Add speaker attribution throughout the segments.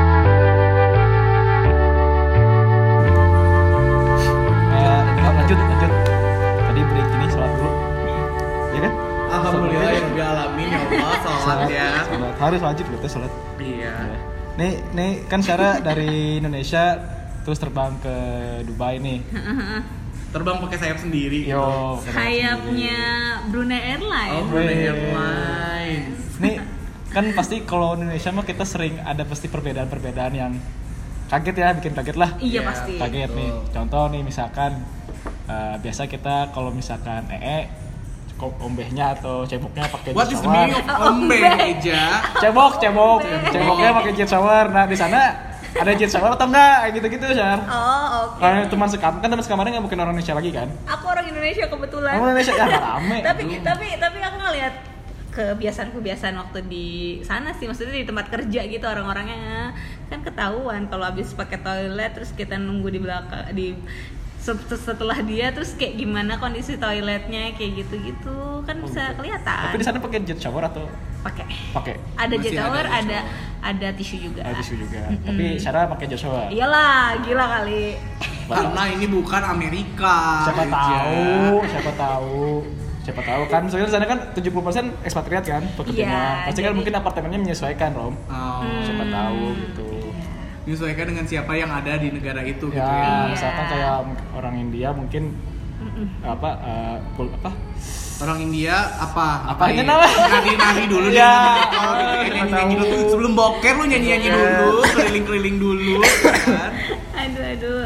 Speaker 1: Eh, Iya kan?
Speaker 2: ya.
Speaker 1: ya. harus wajib gitu sholat
Speaker 2: Iya.
Speaker 1: nih nih kan Syara dari Indonesia terus terbang ke Dubai nih
Speaker 2: Terbang pakai sayap sendiri. gitu.
Speaker 1: yo
Speaker 3: Sayapnya Brunei
Speaker 2: Oh,
Speaker 3: Airlines.
Speaker 2: Brunei
Speaker 1: Wih.
Speaker 2: Airlines.
Speaker 1: nih kan pasti kalau Indonesia mah kita sering ada pasti perbedaan-perbedaan yang kaget ya bikin kaget lah
Speaker 2: Iya,
Speaker 3: Iya pasti.
Speaker 1: kaget
Speaker 2: Betul.
Speaker 1: nih contoh nih misalkan eh, biasa kita kalau misalkan ee ko- ombehnya atau ceboknya pakai
Speaker 2: What
Speaker 1: jas
Speaker 2: is the
Speaker 1: mawar.
Speaker 2: meaning of
Speaker 3: Oh,
Speaker 2: ombe,
Speaker 3: ombe.
Speaker 2: Eja?
Speaker 1: cebok cebok
Speaker 3: Ombeh.
Speaker 1: ceboknya pakai jet shower nah di sana ada jet shower atau enggak kayak gitu gitu syar
Speaker 3: Oh, oke.
Speaker 1: kalau teman sekamar kan teman sekamarnya nggak mungkin orang Indonesia lagi kan
Speaker 3: Aku orang Indonesia kebetulan.
Speaker 1: Orang Indonesia, ya, rame.
Speaker 3: tapi
Speaker 2: Aduh.
Speaker 3: tapi tapi aku ngeliat kebiasaan-kebiasaan waktu di sana sih maksudnya di tempat kerja gitu orang-orangnya kan ketahuan kalau habis pakai toilet terus kita nunggu di belakang di se- setelah dia terus kayak gimana kondisi toiletnya kayak gitu-gitu kan bisa kelihatan
Speaker 1: Oh, gitu. tapi di sana pakai jet shower atau
Speaker 3: pakai
Speaker 1: pakai
Speaker 3: ada
Speaker 2: Masih
Speaker 3: jet
Speaker 2: ada
Speaker 3: shower
Speaker 2: jet
Speaker 3: ada ada tisu juga
Speaker 1: air tisu juga tapi
Speaker 3: Hmm.
Speaker 1: Sarah pakai jet shower
Speaker 3: Iya. iyalah gila kali
Speaker 2: Karena ini bukan Amerika.
Speaker 1: siapa
Speaker 2: Eja.
Speaker 1: tahu siapa tahu siapa tahu kan soalnya di sana kan 70% ekspatriat kan pekerjanya
Speaker 3: Iya,
Speaker 1: pasti kan
Speaker 3: jadi-
Speaker 1: mungkin apartemennya menyesuaikan rom
Speaker 2: Oh,
Speaker 1: siapa tahu gitu
Speaker 2: Disesuaikan dengan siapa yang ada di negara itu
Speaker 1: ya
Speaker 2: gitu ya.
Speaker 3: Iya.
Speaker 1: misalkan kayak orang India mungkin apa eh, pul- apa
Speaker 2: Orang India apa?
Speaker 1: Apanya
Speaker 2: ini?
Speaker 1: namanya?
Speaker 2: Nari-nari dulu
Speaker 1: Ya.
Speaker 2: ya. Kalau nyanyi nyanyi
Speaker 1: Tahu.
Speaker 2: dulu sebelum boker lu nyanyi-nyanyi
Speaker 1: Iya.
Speaker 2: dulu, keliling-keliling dulu kan.
Speaker 3: aduh aduh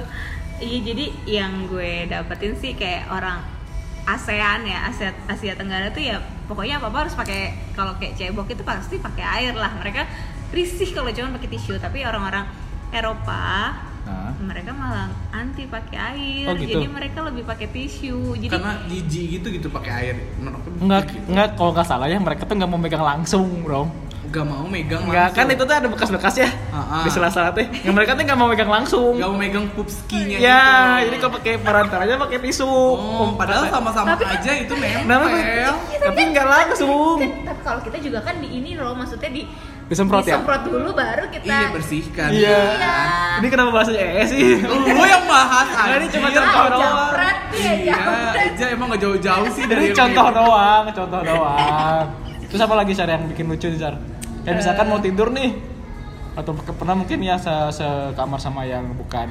Speaker 3: iya jadi yang gue dapetin sih kayak orang ASEAN ya Asia, Asia Tenggara tuh ya pokoknya apa apa harus pakai kalau kayak cebok itu pasti pakai air lah mereka risih kalau cuma pakai tisu tapi orang-orang Eropa
Speaker 1: nah
Speaker 3: mereka malah anti pakai air
Speaker 1: Oh, gitu?
Speaker 3: jadi mereka lebih pakai tisu jadi
Speaker 2: Karena jijik gitu gitu pakai air. Menurut aku
Speaker 1: nggak
Speaker 2: gitu.
Speaker 1: nggak kalau nggak salah ya mereka tuh nggak mau megang langsung rom
Speaker 2: Nggak mau megang
Speaker 1: nggak kan
Speaker 2: langsung.
Speaker 1: itu tuh ada bekas-bekas ya
Speaker 2: Ah, ah.
Speaker 1: di sela-sela tuh yang mereka tuh nggak mau megang langsung
Speaker 2: Nggak mau megang pupskinya
Speaker 1: ya
Speaker 2: gitu.
Speaker 1: jadi kalau pakai perantaranya pakai tisu
Speaker 2: Oh, padahal sama-sama
Speaker 3: Tapi-
Speaker 2: aja itu
Speaker 1: Kenapa?
Speaker 2: nempel.
Speaker 1: Iya, tapi nggak langsung
Speaker 3: Kan- tapi kalau kita juga kan di ini loh maksudnya di
Speaker 1: Disemprot ya?
Speaker 3: disemprot dulu baru kita
Speaker 2: Iya bersihkan.
Speaker 1: Iya.
Speaker 3: Iya.
Speaker 1: Ini kenapa bahasanya eh sih?
Speaker 2: Lu yang bahas
Speaker 1: Nah, ini
Speaker 2: anjir.
Speaker 1: cuma
Speaker 3: Ah,
Speaker 1: contoh doang.
Speaker 3: jambret dia, ya
Speaker 2: Iya,
Speaker 3: jambret.
Speaker 2: Eja emang gak jauh-jauh sih dari
Speaker 1: Ini contoh doang, contoh doang. Terus apa lagi Sar yang bikin lucu nih Sar? Kayak misalkan
Speaker 2: Eh.
Speaker 1: mau tidur nih atau ke- pernah mungkin ya se sekamar sama yang bukan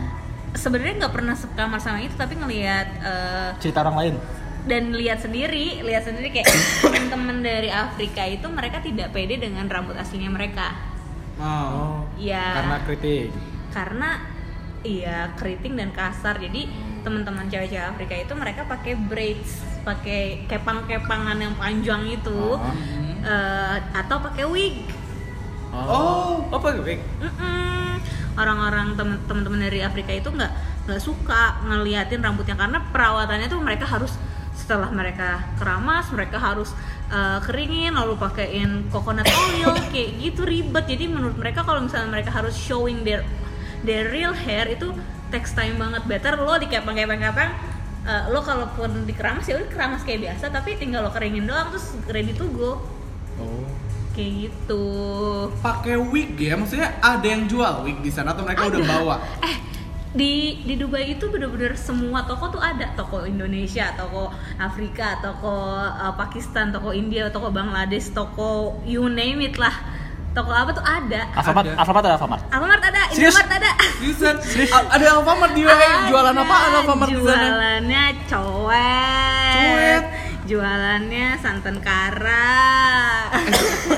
Speaker 3: sebenarnya nggak pernah sekamar sama itu tapi ngelihat eh,
Speaker 1: cerita orang lain.
Speaker 3: dan lihat sendiri lihat sendiri kayak temen-temen dari Afrika itu mereka tidak pede dengan rambut aslinya mereka
Speaker 2: Oh.
Speaker 3: ya
Speaker 1: Karena kritik.
Speaker 3: karena iya keriting dan kasar jadi teman-teman cewek-cewek Afrika itu mereka pakai braids pakai kepang-kepangan yang panjang itu
Speaker 1: Oh.
Speaker 3: eh, atau pakai wig
Speaker 1: Oh, apa kritik?
Speaker 3: Mm-mm. orang-orang temen- teman-teman dari Afrika itu nggak nggak suka ngeliatin rambutnya karena perawatannya tuh mereka harus setelah mereka keramas mereka harus eh, keringin lalu pakaiin coconut oil kayak gitu ribet jadi menurut mereka kalau misalnya mereka harus showing their their real hair itu takes time banget better lo dikepang kepang kepang lo kalaupun dikeramas ya udah keramas kayak biasa tapi tinggal lo keringin doang terus ready to go
Speaker 1: Oh.
Speaker 3: kayak gitu
Speaker 2: Pakai wig ya? Maksudnya ada yang jual wig di sana atau mereka udah bawa?
Speaker 3: eh di di Dubai itu bener-bener semua toko tuh ada toko Indonesia toko Afrika toko uh, Pakistan toko India toko Bangladesh toko you name it lah toko apa tuh ada
Speaker 1: Alfamart,
Speaker 2: Ada.
Speaker 1: Alfamart ada Alfamart.
Speaker 3: Alfamart ada
Speaker 1: Serius?
Speaker 3: Indomaret ada
Speaker 2: Seriusan? A- ada Alfamart di wig. Jualan
Speaker 3: Ada.
Speaker 2: apaan Alfamart di sana?
Speaker 3: jualannya cowet,
Speaker 2: Cowet.
Speaker 3: jualannya santan kara
Speaker 2: Eh.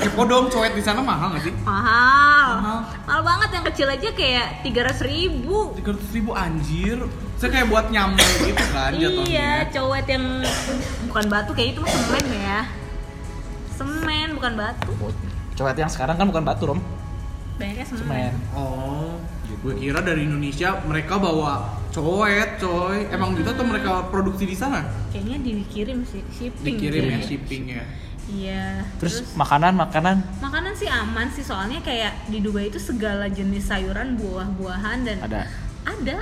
Speaker 2: Kepo dong, cowet di sana mahal gak sih?
Speaker 3: mahal
Speaker 2: Mahal.
Speaker 3: mahal banget yang kecil aja kayak 300.000 ribu
Speaker 2: 300 ribu anjir Saya kayak buat nyamuk gitu kan
Speaker 3: Iya,
Speaker 2: jatuhnya
Speaker 3: cowet yang bukan batu kayak itu mah semen ya. Semen bukan batu.
Speaker 1: Cowok yang sekarang kan bukan batu, Rom.
Speaker 3: Banyaknya semen.
Speaker 1: Semen.
Speaker 2: Oh, gue kira dari Indonesia mereka bawa cowet coy Emang gitu atau mereka produksi di sana?
Speaker 3: Kayaknya dikirim sih shipping.
Speaker 2: Dikirim ya
Speaker 3: kayaknya.
Speaker 2: shippingnya
Speaker 3: Iya.
Speaker 1: Terus makanan, makanan.
Speaker 3: makanan sih aman sih soalnya kayak di Dubai itu segala jenis sayuran, buah-buahan dan
Speaker 1: Ada.
Speaker 3: Ada.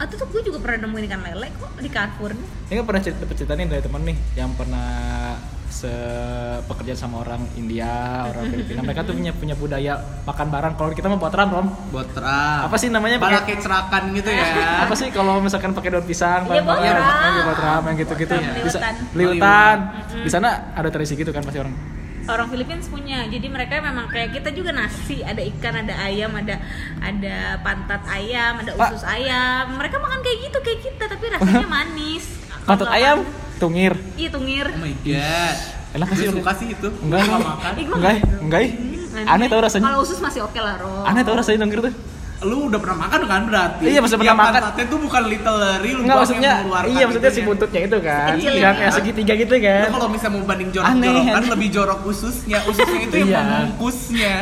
Speaker 3: Atau tuh gue juga pernah nemuin ikan lele kok di Carrefour.
Speaker 1: Ini kan pernah cerita, dapet cerita nih dari temen nih yang pernah sepekerjaan sama orang India, orang Filipina. Mereka tuh punya punya budaya makan barang. Kalau kita mau buat ram, Rom.
Speaker 2: Buat terang
Speaker 1: Apa sih namanya?
Speaker 2: Para
Speaker 1: Pakai-
Speaker 2: kecerakan gitu ya
Speaker 1: Apa sih kalau misalkan pakai daun pisang,
Speaker 3: Iya,
Speaker 1: barang-barang,
Speaker 3: buat ram.
Speaker 1: iya, buat ram yang gitu-gitu.
Speaker 3: Buat ram,
Speaker 1: Di sa-
Speaker 3: liwetan.
Speaker 1: liwetan. Di sana ada tradisi gitu kan pasti orang.
Speaker 3: orang Philippines punya jadi mereka memang kayak kita juga nasi ada ikan ada ayam ada ada pantat ayam ada
Speaker 1: Pak.
Speaker 3: usus ayam mereka makan kayak gitu kayak kita tapi rasanya manis
Speaker 1: Pantat
Speaker 3: Kalau
Speaker 1: ayam,
Speaker 3: makan-
Speaker 1: tungir.
Speaker 3: iya tungir
Speaker 2: Oh my god.
Speaker 1: Enak
Speaker 2: Gue
Speaker 1: sih,
Speaker 2: suka sih itu.
Speaker 1: Enggak,
Speaker 2: Gua
Speaker 1: enggak.
Speaker 2: makan.
Speaker 3: Ih, gua
Speaker 1: Enggak,
Speaker 3: nggak-
Speaker 1: enggak.
Speaker 3: Hmm,
Speaker 1: Aneh tau rasanya.
Speaker 3: kalau usus masih oke lah Ro
Speaker 1: Aneh tau rasanya tungir tuh.
Speaker 2: Lu udah pernah makan kan berarti?
Speaker 1: Iya, maksudnya pernah
Speaker 2: Yang
Speaker 1: makan.
Speaker 2: pantatnya tuh bukan little Larry, lu
Speaker 1: Enggak
Speaker 2: doang
Speaker 1: maksudnya,
Speaker 2: yang mengeluarkan
Speaker 1: iya maksudnya si
Speaker 2: itunya.
Speaker 1: buntutnya itu kan.
Speaker 3: gitu Kecil
Speaker 1: Yang
Speaker 3: ya.
Speaker 1: kayak segitiga gitu
Speaker 2: Lu
Speaker 1: kan.
Speaker 2: kalau misalnya mau banding
Speaker 1: Aneh,
Speaker 2: jorok-jorokan
Speaker 1: aneh.
Speaker 2: lebih jorok ususnya, ususnya itu yang
Speaker 1: Iya.
Speaker 2: membungkusnya.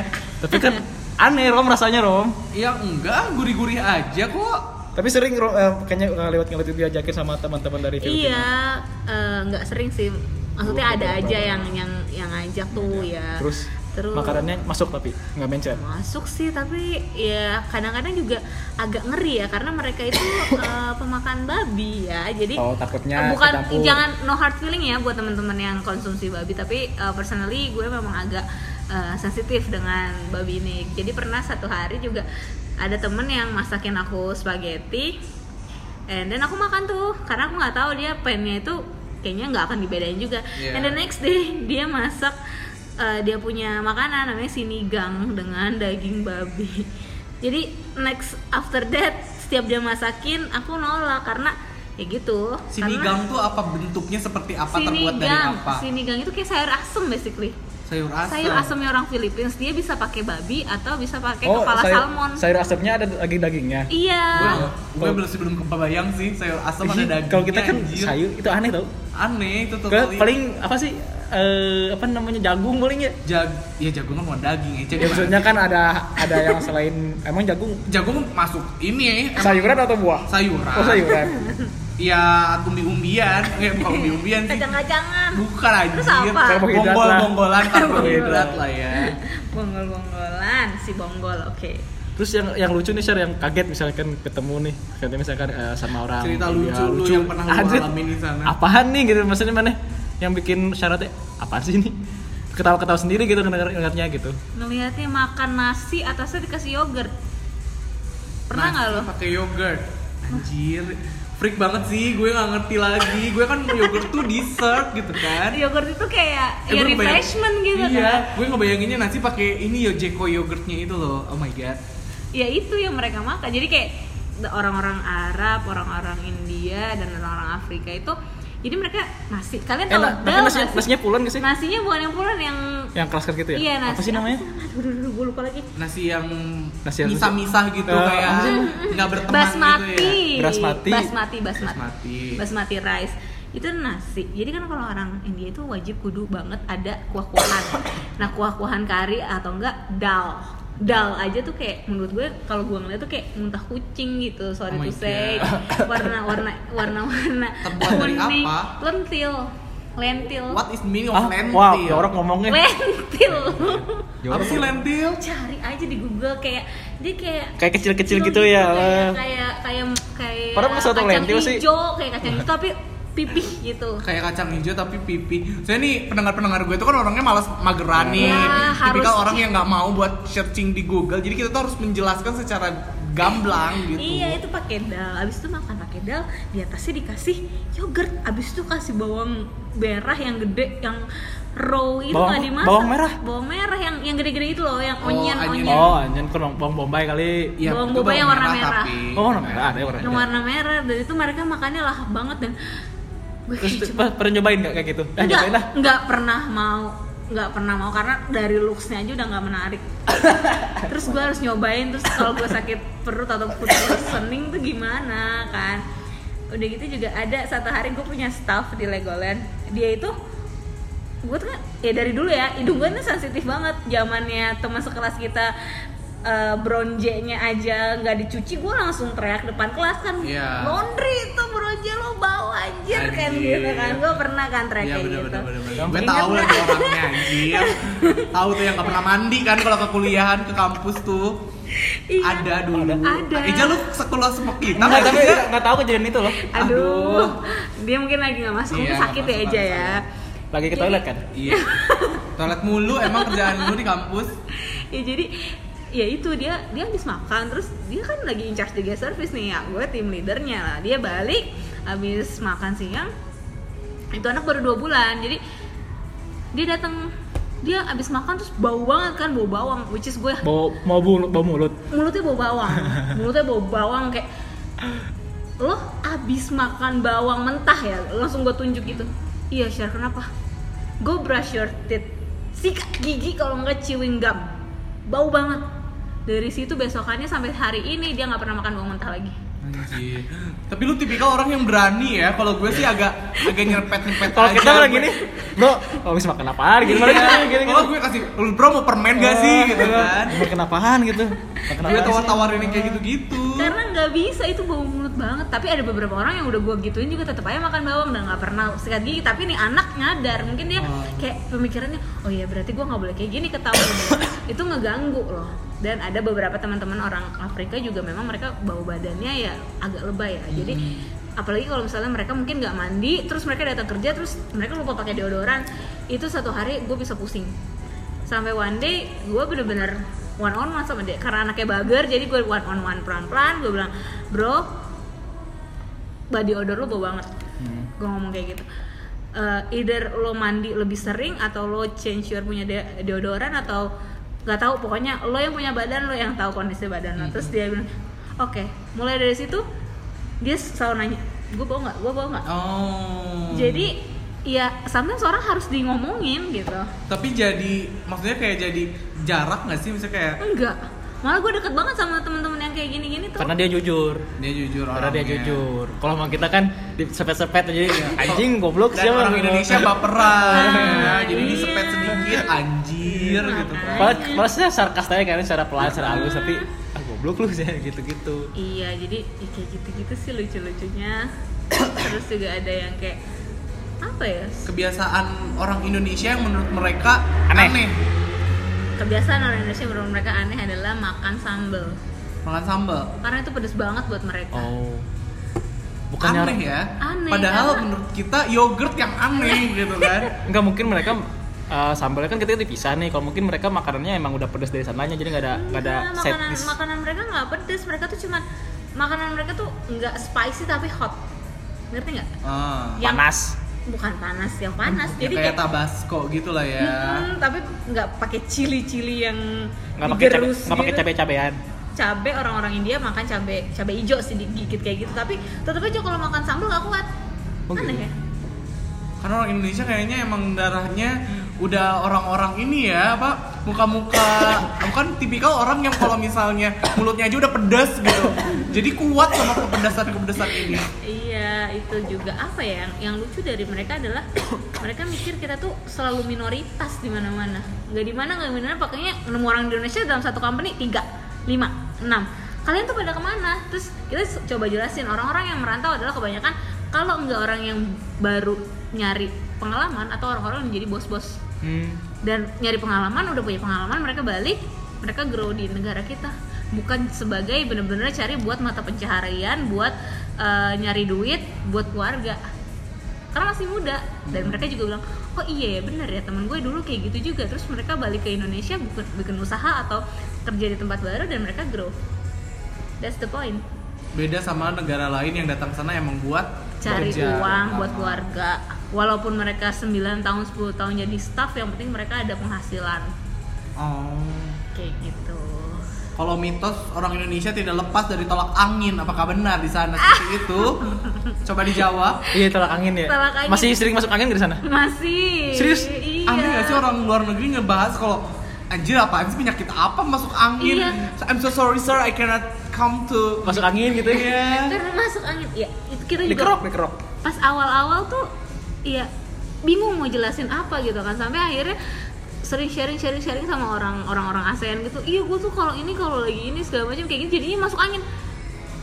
Speaker 1: Tapi kan aneh Rom rasanya Rom.
Speaker 2: Ya enggak, gurih-gurih aja kok.
Speaker 1: Tapi sering Rom, eh, kayaknya lewat ngeliat diajakin sama teman-teman dari Filipina.
Speaker 3: Iya, eh, nggak sering sih. Maksudnya ada aja yang yang yang ngajak tuh
Speaker 1: Iya.
Speaker 3: ya.
Speaker 1: Terus, makanannya masuk tapi nggak mencet.
Speaker 3: masuk sih tapi ya kadang-kadang juga agak ngeri ya karena mereka itu eh, pemakan babi ya. Jadi
Speaker 1: Oh, takutnya
Speaker 3: bukan
Speaker 1: kecampur.
Speaker 3: jangan no hard feeling ya buat teman-teman yang konsumsi babi tapi eh, personally gue memang agak eh, sensitif dengan babi ini. Jadi pernah satu hari juga ada temen yang masakin aku spaghetti And then aku makan tuh karena aku nggak tahu dia pennya itu kayaknya nggak akan dibedain juga.
Speaker 2: Yeah.
Speaker 3: And the next day dia masak uh, dia punya makanan namanya sinigang dengan daging babi. Jadi next after that setiap dia masakin aku nolak karena ya gitu.
Speaker 2: Sinigang tuh apa bentuknya seperti
Speaker 3: Karena
Speaker 2: apa terbuat dari
Speaker 3: sinigang,
Speaker 2: apa?
Speaker 3: sinigang itu kayak sayur asem basically.
Speaker 2: Sayur asam.
Speaker 3: Sayur asemnya orang Philippines dia bisa pakai babi atau bisa pakai
Speaker 1: Oh,
Speaker 3: kepala
Speaker 1: sayur,
Speaker 3: salmon.
Speaker 1: sayur asapnya ada daging dagingnya.
Speaker 3: Iya.
Speaker 2: Gue gue
Speaker 1: Kalau-
Speaker 2: belum sebelum kebayang sih sayur asam ada dagingnya.
Speaker 1: Kalau kita kan
Speaker 2: anjir.
Speaker 1: sayur itu aneh tau.
Speaker 2: aneh itu tuh
Speaker 1: Ke- paling apa sih eh, apa namanya jagung paling ya?
Speaker 2: jag ya jagung kan bukan daging ya.
Speaker 1: Ya,
Speaker 2: Jagung,
Speaker 1: maksudnya kan ada ada yang selain emang jagung
Speaker 2: jagung masuk ini ya. emang
Speaker 1: sayuran atau buah?
Speaker 2: sayuran.
Speaker 1: Oh sayuran.
Speaker 2: Ya umbi-umbian, eh bukan umbi-umbian sih.
Speaker 3: Kacang-kacangan.
Speaker 2: Bukan anjir.
Speaker 3: Terus apa?
Speaker 1: Karbohidrat lah.
Speaker 2: Bonggol-bonggolan karbohidrat
Speaker 1: Karbohidrat.
Speaker 2: lah ya.
Speaker 3: Bonggol-bonggolan, si bonggol, oke.
Speaker 1: Terus yang yang lucu nih share yang kaget misalkan ketemu nih, katanya misalkan eh, sama orang
Speaker 2: Cerita
Speaker 1: India,
Speaker 2: lucu lu yang pernah lu
Speaker 1: Anjir,
Speaker 2: alamin di sana.
Speaker 1: Apaan nih gitu maksudnya mana? Yang bikin syaratnya apaan sih ini? Ketawa-ketawa sendiri gitu ngedenger- ngedengarnya gitu.
Speaker 3: Ngeliatnya makan nasi atasnya dikasih yogurt. Pernah nggak
Speaker 2: Nasi
Speaker 3: lo?
Speaker 2: Nah, Pakai yogurt. Anjir. Freak banget sih, gue nggak ngerti lagi. Gue kan yogurt tuh dessert gitu kan.
Speaker 3: Yogurt itu kayak
Speaker 2: Eh,
Speaker 3: ya
Speaker 2: gue ngebayang-
Speaker 3: Iya, refreshment gitu
Speaker 2: iya,
Speaker 3: kan.
Speaker 2: gue ngebayanginnya nasi pakai ini ya Jeko yogurtnya itu loh. Oh my god.
Speaker 3: Ya itu yang mereka makan. Jadi kayak orang-orang Arab, orang-orang India dan orang-orang Afrika itu jadi mereka nasi. Kalian tahu
Speaker 1: Enak, Eh, tapi nasinya,
Speaker 3: dal nggak sih?
Speaker 1: nasinya pulen gak sih?
Speaker 3: Nasinya bukan yang pulen yang
Speaker 1: Yang keras keras gitu ya?
Speaker 3: Iya, nasi.
Speaker 1: Apa sih namanya?
Speaker 3: Aduh, aduh, aduh, gue lupa lagi.
Speaker 2: Nasi yang
Speaker 1: Nasi yang-
Speaker 2: misah-misah gitu
Speaker 1: Eh,
Speaker 2: kayak
Speaker 1: apa sih?
Speaker 2: nggak berteman gitu ya.
Speaker 3: basmati.
Speaker 1: Basmati.
Speaker 3: basmati basmati
Speaker 2: Basmati.
Speaker 3: basmati rice itu nasi jadi kan kalau orang India itu wajib kudu banget ada kuah-kuahan nah kuah-kuahan kari atau enggak dal dal aja tuh kayak menurut gue kalau gue ngeliat tuh kayak muntah kucing gitu sorry
Speaker 2: Oh my
Speaker 3: to say warna warna warna warna
Speaker 2: Terbuat dari
Speaker 3: kuning
Speaker 2: apa?
Speaker 3: lentil lentil
Speaker 2: What is meaning of
Speaker 1: Ah,
Speaker 2: lentil?
Speaker 1: wow, ya orang ngomongnya.
Speaker 3: lentil
Speaker 2: Apa sih lentil?
Speaker 3: cari aja di Google kayak dia kayak
Speaker 1: Kayak kecil-kecil
Speaker 3: kecil
Speaker 1: gitu ya.
Speaker 3: kayak kayak kayak kayak
Speaker 1: Padahal bukan satu
Speaker 3: kacang
Speaker 1: lentil sih.
Speaker 3: hijau kayak kacang hijau tapi pipih gitu
Speaker 2: kayak kacang hijau tapi pipi. Saya nih pendengar-pendengar gue itu kan orangnya malas mageran nih.
Speaker 3: Ya,
Speaker 2: Tipikal
Speaker 3: harus-
Speaker 2: orang yang nggak mau buat searching di Google. Jadi kita tuh harus menjelaskan secara gamblang gitu.
Speaker 3: iya itu pakai dal abis itu makan pakai dal di atasnya dikasih yogurt abis itu kasih bawang merah yang gede yang raw itu
Speaker 1: Bawang-
Speaker 3: nggak dimasak
Speaker 1: bawang merah?
Speaker 3: bawang merah yang yang gede-gede itu loh yang
Speaker 2: Oh,
Speaker 3: onion
Speaker 2: onion.
Speaker 3: onion
Speaker 1: Oh, anjir kurang bawang bombay kali.
Speaker 2: Iya,
Speaker 3: Bawang
Speaker 2: itu
Speaker 3: boba yang warna merah.
Speaker 1: Oh, warna merah, ada yang warna
Speaker 3: yang warna merah dan itu mereka makannya lahap banget dan gue
Speaker 1: Terus
Speaker 3: kayak
Speaker 1: tuh, pa- pernah nyobain nggak kayak gitu? Eh,
Speaker 3: nggak
Speaker 1: nyobain lah.
Speaker 3: nggak pernah mau nggak pernah mau karena dari looksnya aja udah nggak menarik terus gue harus nyobain terus kalau gue sakit perut atau perut sening tuh gimana kan udah gitu juga ada satu hari gue punya staff di Legoland dia itu gue tuh kan- ya dari dulu ya hidung gue tuh sensitif banget zamannya teman sekelas kita eh, bronjenya aja nggak dicuci gue langsung teriak depan kelas kan
Speaker 2: Iya.
Speaker 3: laundry itu bronje lo bau anjir, kan
Speaker 2: Anjir.
Speaker 3: gitu kan gue pernah kan teriak
Speaker 2: Iya
Speaker 3: kayak
Speaker 2: bener
Speaker 3: gitu
Speaker 2: bener bener. bener.
Speaker 1: Yang
Speaker 2: Gue
Speaker 1: penting
Speaker 2: tahu
Speaker 3: kan-
Speaker 2: lah tuh orangnya anjir. tahu tuh yang gak pernah mandi kan kalau ke kuliahan ke kampus tuh.
Speaker 3: Iya.
Speaker 2: Ada dulu.
Speaker 3: Ada.
Speaker 2: Eja lu sekolah sama kita.
Speaker 1: Nggak,
Speaker 2: kan?
Speaker 1: tapi nggak tahu kejadian itu loh.
Speaker 3: aduh dia mungkin lagi nggak masuk
Speaker 2: Iya,
Speaker 3: mungkin sakit
Speaker 2: nggak
Speaker 3: ya
Speaker 2: masuk,
Speaker 3: aja
Speaker 2: nggak
Speaker 3: ya
Speaker 1: Lagi ke toilet kan?
Speaker 2: Iya. Toilet mulu emang kerjaan lu di kampus.
Speaker 3: ya jadi ya itu dia dia habis makan terus dia kan lagi in charge di guest service nih ya gue tim leadernya lah dia balik habis makan siang itu anak baru dua bulan jadi dia datang dia abis makan terus bau banget kan bau bawang which is gue
Speaker 1: Bau mau bu, bau mulut.
Speaker 3: mulutnya bau bawang mulutnya bau bawang kayak lo abis makan bawang mentah ya langsung gue tunjuk gitu iya Syar kenapa go brush your teeth sikat gigi kalau nggak chewing gum bau banget dari situ besokannya sampai hari ini dia nggak pernah makan bawang mentah lagi
Speaker 2: Anjir. Tapi lu tipikal orang yang berani ya. Kalau gue sih agak agak nyerpet-nyerpet
Speaker 1: Kalau
Speaker 2: aja.
Speaker 1: kita lagi gini, bro, habis makan apaan gitu. Gimana
Speaker 2: Iya.
Speaker 1: gitu, gini,
Speaker 2: Kalau
Speaker 1: gini.
Speaker 2: gue kasih, lu bro mau permen gak sih gitu kan.
Speaker 1: Makan apaan gitu. Makan
Speaker 2: Gue
Speaker 1: apaan sih?
Speaker 2: tawar-tawarin yang kayak gitu-gitu.
Speaker 3: karena nggak bisa itu bau mulut banget tapi ada beberapa orang yang udah gua gituin juga tetap aja makan bawang dan nggak pernah sikat gigi tapi nih anak nyadar mungkin dia kayak pemikirannya oh iya berarti gua nggak boleh kayak gini ketahuan itu ngeganggu loh dan ada beberapa teman-teman orang Afrika juga memang mereka bau badannya ya agak lebay ya jadi apalagi kalau misalnya mereka mungkin nggak mandi terus mereka datang kerja terus mereka lupa pakai deodoran itu satu hari gue bisa pusing sampai one day gue bener-bener one on one sama dia karena anaknya bager jadi gue one on one pelan-pelan gue bilang bro body odor lo bau banget gue ngomong kayak gitu "Eh, either lo mandi lebih sering atau lo change your punya de- deodoran atau nggak tahu pokoknya lo yang punya badan lo yang tahu kondisi badan lo terus dia bilang oke mulai dari situ dia selalu nanya gue bau nggak gue bau nggak
Speaker 2: Oh.
Speaker 3: jadi ya sometimes orang harus di ngomongin gitu
Speaker 2: Tapi jadi maksudnya kayak jadi jarak gak sih misalnya kayak
Speaker 3: Enggak. Malah gue deket banget sama temen-temen yang kayak gini-gini tuh.
Speaker 1: Karena dia jujur.
Speaker 2: dia jujur
Speaker 1: Karena
Speaker 2: orang
Speaker 1: dia jujur. Kalau sama kita kan disepet-sepet aja anjing goblok
Speaker 2: Dan
Speaker 1: siapa
Speaker 2: orang
Speaker 1: gitu.
Speaker 2: Indonesia baperan. Nah,
Speaker 3: Ah,
Speaker 2: jadi
Speaker 3: iya.
Speaker 2: ini sepet sedikit anjir gitu kan.
Speaker 1: Malah, malah saya sarkas aja kan secara pelan, secara halus tapi ah goblok lu sih gitu-gitu.
Speaker 3: Iya, jadi ya kayak gitu-gitu sih lucu-lucunya. Terus juga ada yang kayak apa ya?
Speaker 2: Kebiasaan orang Indonesia yang menurut mereka
Speaker 1: Aneh.
Speaker 2: aneh.
Speaker 3: Kebiasaan orang Indonesia menurut mereka aneh adalah makan sambel.
Speaker 2: Makan sambal.
Speaker 3: Karena itu pedes banget buat mereka.
Speaker 1: Oh. Bukannya
Speaker 2: aneh ya.
Speaker 3: Aneh,
Speaker 2: Padahal
Speaker 3: karena- Iya.
Speaker 2: menurut kita yogurt yang aneh gitu kan.
Speaker 1: Enggak mungkin mereka eh, sambalnya kan kita dipisah nih. Kalau mungkin mereka makanannya emang udah pedas dari sananya jadi nggak ada nggak ada
Speaker 3: Enggak,
Speaker 1: set
Speaker 3: Iya, makanan
Speaker 1: dish.
Speaker 3: makanan mereka nggak pedes, mereka tuh cuman makanan mereka tuh nggak spicy tapi hot. Ngerti nggak?
Speaker 2: Ah.
Speaker 3: yang-
Speaker 1: panas.
Speaker 3: Bukan panas, yang panas.
Speaker 2: Ya,
Speaker 3: Jadi
Speaker 2: kayak
Speaker 3: kayak
Speaker 2: tabasco gitu lah ya.
Speaker 3: Mm, tapi nggak pakai cili-cili yang
Speaker 1: Nggak pakai cabe,
Speaker 3: digerus
Speaker 1: nggak pakai
Speaker 3: gitu.
Speaker 1: cabe-cabean.
Speaker 3: cabe orang-orang India makan cabe cabe hijau sih digigit kayak gitu tapi tetap aja kalau makan sambal nggak kuat
Speaker 1: Oh,
Speaker 3: aneh
Speaker 1: gitu.
Speaker 3: ya
Speaker 2: Karena orang Indonesia kayaknya emang darahnya udah orang-orang ini ya, apa muka-muka bukan tipikal orang yang kalau misalnya mulutnya aja udah pedas gitu. Jadi kuat sama kepedasan-kepedasan ini.
Speaker 3: iya itu juga apa ya yang, yang lucu dari mereka adalah mereka mikir kita tuh selalu minoritas di mana-mana nggak di mana nggak di mana pakainya enam orang di Indonesia dalam satu company tiga lima enam kalian tuh pada kemana terus kita s- coba jelasin orang-orang yang merantau adalah kebanyakan kalau nggak orang yang baru nyari pengalaman atau orang-orang yang jadi bos-bos
Speaker 1: Hmm.
Speaker 3: dan nyari pengalaman udah punya pengalaman mereka balik mereka grow di negara kita bukan sebagai bener-bener cari buat mata pencaharian buat eh, nyari duit buat keluarga karena masih muda dan mereka juga bilang oh iya ya bener ya temen gue dulu kayak gitu juga terus mereka balik ke Indonesia bukan bikin usaha atau kerja di tempat baru dan mereka grow that's the point
Speaker 2: Beda sama negara lain yang datang sana emang buat
Speaker 3: cari
Speaker 2: bekerja.
Speaker 3: uang buat
Speaker 2: Ah.
Speaker 3: keluarga walaupun mereka 9 tahun 10 tahun jadi staff yang penting mereka ada penghasilan
Speaker 2: Oh.
Speaker 3: kayak gitu
Speaker 2: Kalau mitos orang Indonesia tidak lepas dari tolak angin, apakah benar di sana seperti itu? Coba dijawab.
Speaker 1: Iya tolak angin ya.
Speaker 3: Tolak angin.
Speaker 1: Masih sering masuk angin nggak di sana?
Speaker 3: Masih.
Speaker 1: Serius?
Speaker 3: Iya.
Speaker 2: Aneh gak sih orang luar negeri ngebahas kalau anjir apaan sih penyakit apa masuk angin?
Speaker 3: Iya.
Speaker 2: I'm so sorry sir, I cannot come to.
Speaker 1: Masuk angin gitu ya.
Speaker 2: Iya.
Speaker 3: Karena masuk angin. Ya, itu kita juga
Speaker 1: Dikerok, dikerok.
Speaker 3: pas awal-awal tuh ya bingung mau jelasin apa gitu kan sampai akhirnya sering sharing sharing sharing sama orang orang orang ASEAN gitu iya gue tuh kalau ini kalau lagi ini segala macam kayak gini jadinya masuk angin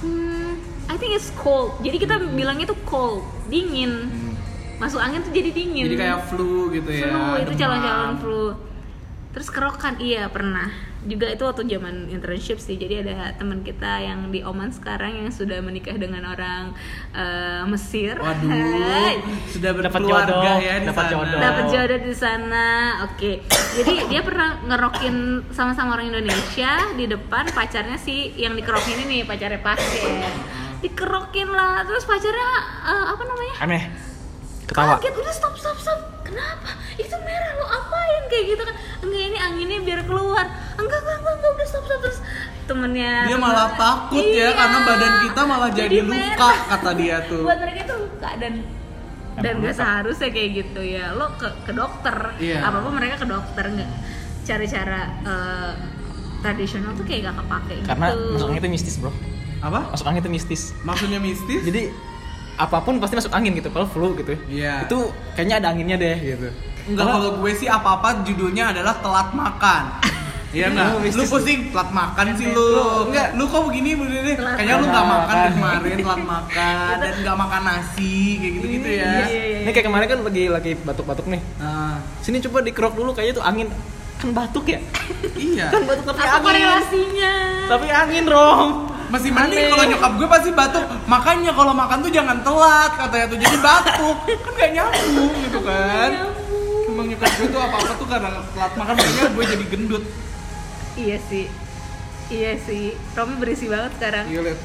Speaker 3: hmm, I think it's cold jadi kita
Speaker 2: Hmm.
Speaker 3: bilangnya tuh cold dingin masuk angin tuh jadi dingin
Speaker 2: Jadi kayak flu gitu ya.
Speaker 3: flu itu
Speaker 2: demam.
Speaker 3: calon-calon flu terus kerokan iya pernah juga itu waktu zaman internship sih jadi ada teman kita yang di Oman sekarang yang sudah menikah dengan orang eh, Mesir
Speaker 2: Waduh, sudah
Speaker 1: Dapat
Speaker 2: berkeluarga
Speaker 1: jodoh,
Speaker 2: ya di
Speaker 1: dapat
Speaker 2: sana.
Speaker 1: jodoh.
Speaker 3: dapat jodoh di sana oke jadi dia pernah ngerokin sama-sama orang Indonesia di depan pacarnya si yang dikerokin ini nih pacarnya pasir dikerokin lah terus pacarnya eh, apa namanya
Speaker 1: Aneh.
Speaker 4: Ketawa.
Speaker 3: kaget udah stop stop stop kenapa itu merah lo apain kayak gitu kan enggak ini anginnya biar keluar enggak enggak enggak, enggak udah stop stop terus temennya
Speaker 2: Dia malah
Speaker 3: temennya-
Speaker 2: takut ya,
Speaker 3: Iya.
Speaker 2: karena badan kita malah jadi luka,
Speaker 3: merah.
Speaker 2: kata dia tuh.
Speaker 3: buat mereka itu luka dan dan
Speaker 1: Emang
Speaker 3: gak
Speaker 1: luka.
Speaker 3: seharusnya kayak gitu ya lo ke ke dokter
Speaker 2: Iya.
Speaker 3: apa apa mereka ke dokter nggak cara-cara eh, tradisional tuh kayak gak kepake
Speaker 1: Karena
Speaker 3: gitu.
Speaker 1: masuk angin itu mistis bro.
Speaker 2: Apa?
Speaker 1: Masuk angin itu mistis.
Speaker 2: Maksudnya mistis?
Speaker 1: Jadi apapun pasti masuk angin gitu. Kalau flu gitu.
Speaker 2: Iya.
Speaker 1: Itu kayaknya ada anginnya deh gitu.
Speaker 2: Enggak
Speaker 1: Kalau-
Speaker 2: kalau gue sih apa-apa judulnya adalah telat makan. Iya enggak?
Speaker 1: Lu mistis.
Speaker 2: Lu pusing telat makan sih lu. Enggak, lu kok begini begini.
Speaker 3: Telat
Speaker 2: Kayaknya lu enggak makan
Speaker 1: makan.
Speaker 2: dari kemarin telat makan dan enggak makan nasi kayak gitu-gitu ya.
Speaker 3: Iya, iya, iya.
Speaker 1: gitu Ini kayak kemarin kan lagi lagi batuk-batuk nih.
Speaker 2: Nah,
Speaker 1: Sini coba dikerok dulu kayaknya tuh angin kan batuk ya.
Speaker 2: iya.
Speaker 1: Kan batuk tapi
Speaker 3: apa
Speaker 1: angin.
Speaker 3: korelasinya
Speaker 1: Tapi angin, Rom.
Speaker 2: Masih mending
Speaker 1: Aneh.
Speaker 2: kalau nyokap gue pasti batuk. Makanya kalau makan tuh jangan telat katanya tuh jadi batuk. Kan gak nyambung gitu kan.
Speaker 3: Ya ampun.
Speaker 2: Emang nyokap gue tuh apa-apa tuh karena telat makan makanya gue jadi gendut.
Speaker 3: iya sih iya sih Romi berisi banget sekarang
Speaker 2: Iya, liat.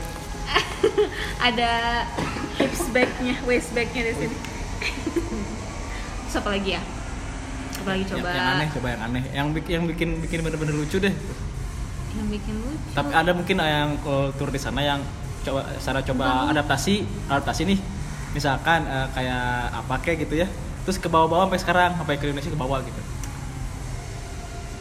Speaker 3: ada hips bagnya, waist bagnya di sini. Terus apa lagi ya? Apa lagi coba?
Speaker 1: Yang, yang aneh, coba yang aneh. Yang bikin yang bikin bikin bener-bener lucu deh.
Speaker 3: Yang bikin lucu.
Speaker 1: Tapi ah, ada mungkin yang kultur di sana yang coba cara coba adaptasi, adaptasi nih. Misalkan eh, kayak apa kayak gitu ya. Terus ke bawah-bawah sampai sekarang, sampai ke Indonesia ke bawah gitu.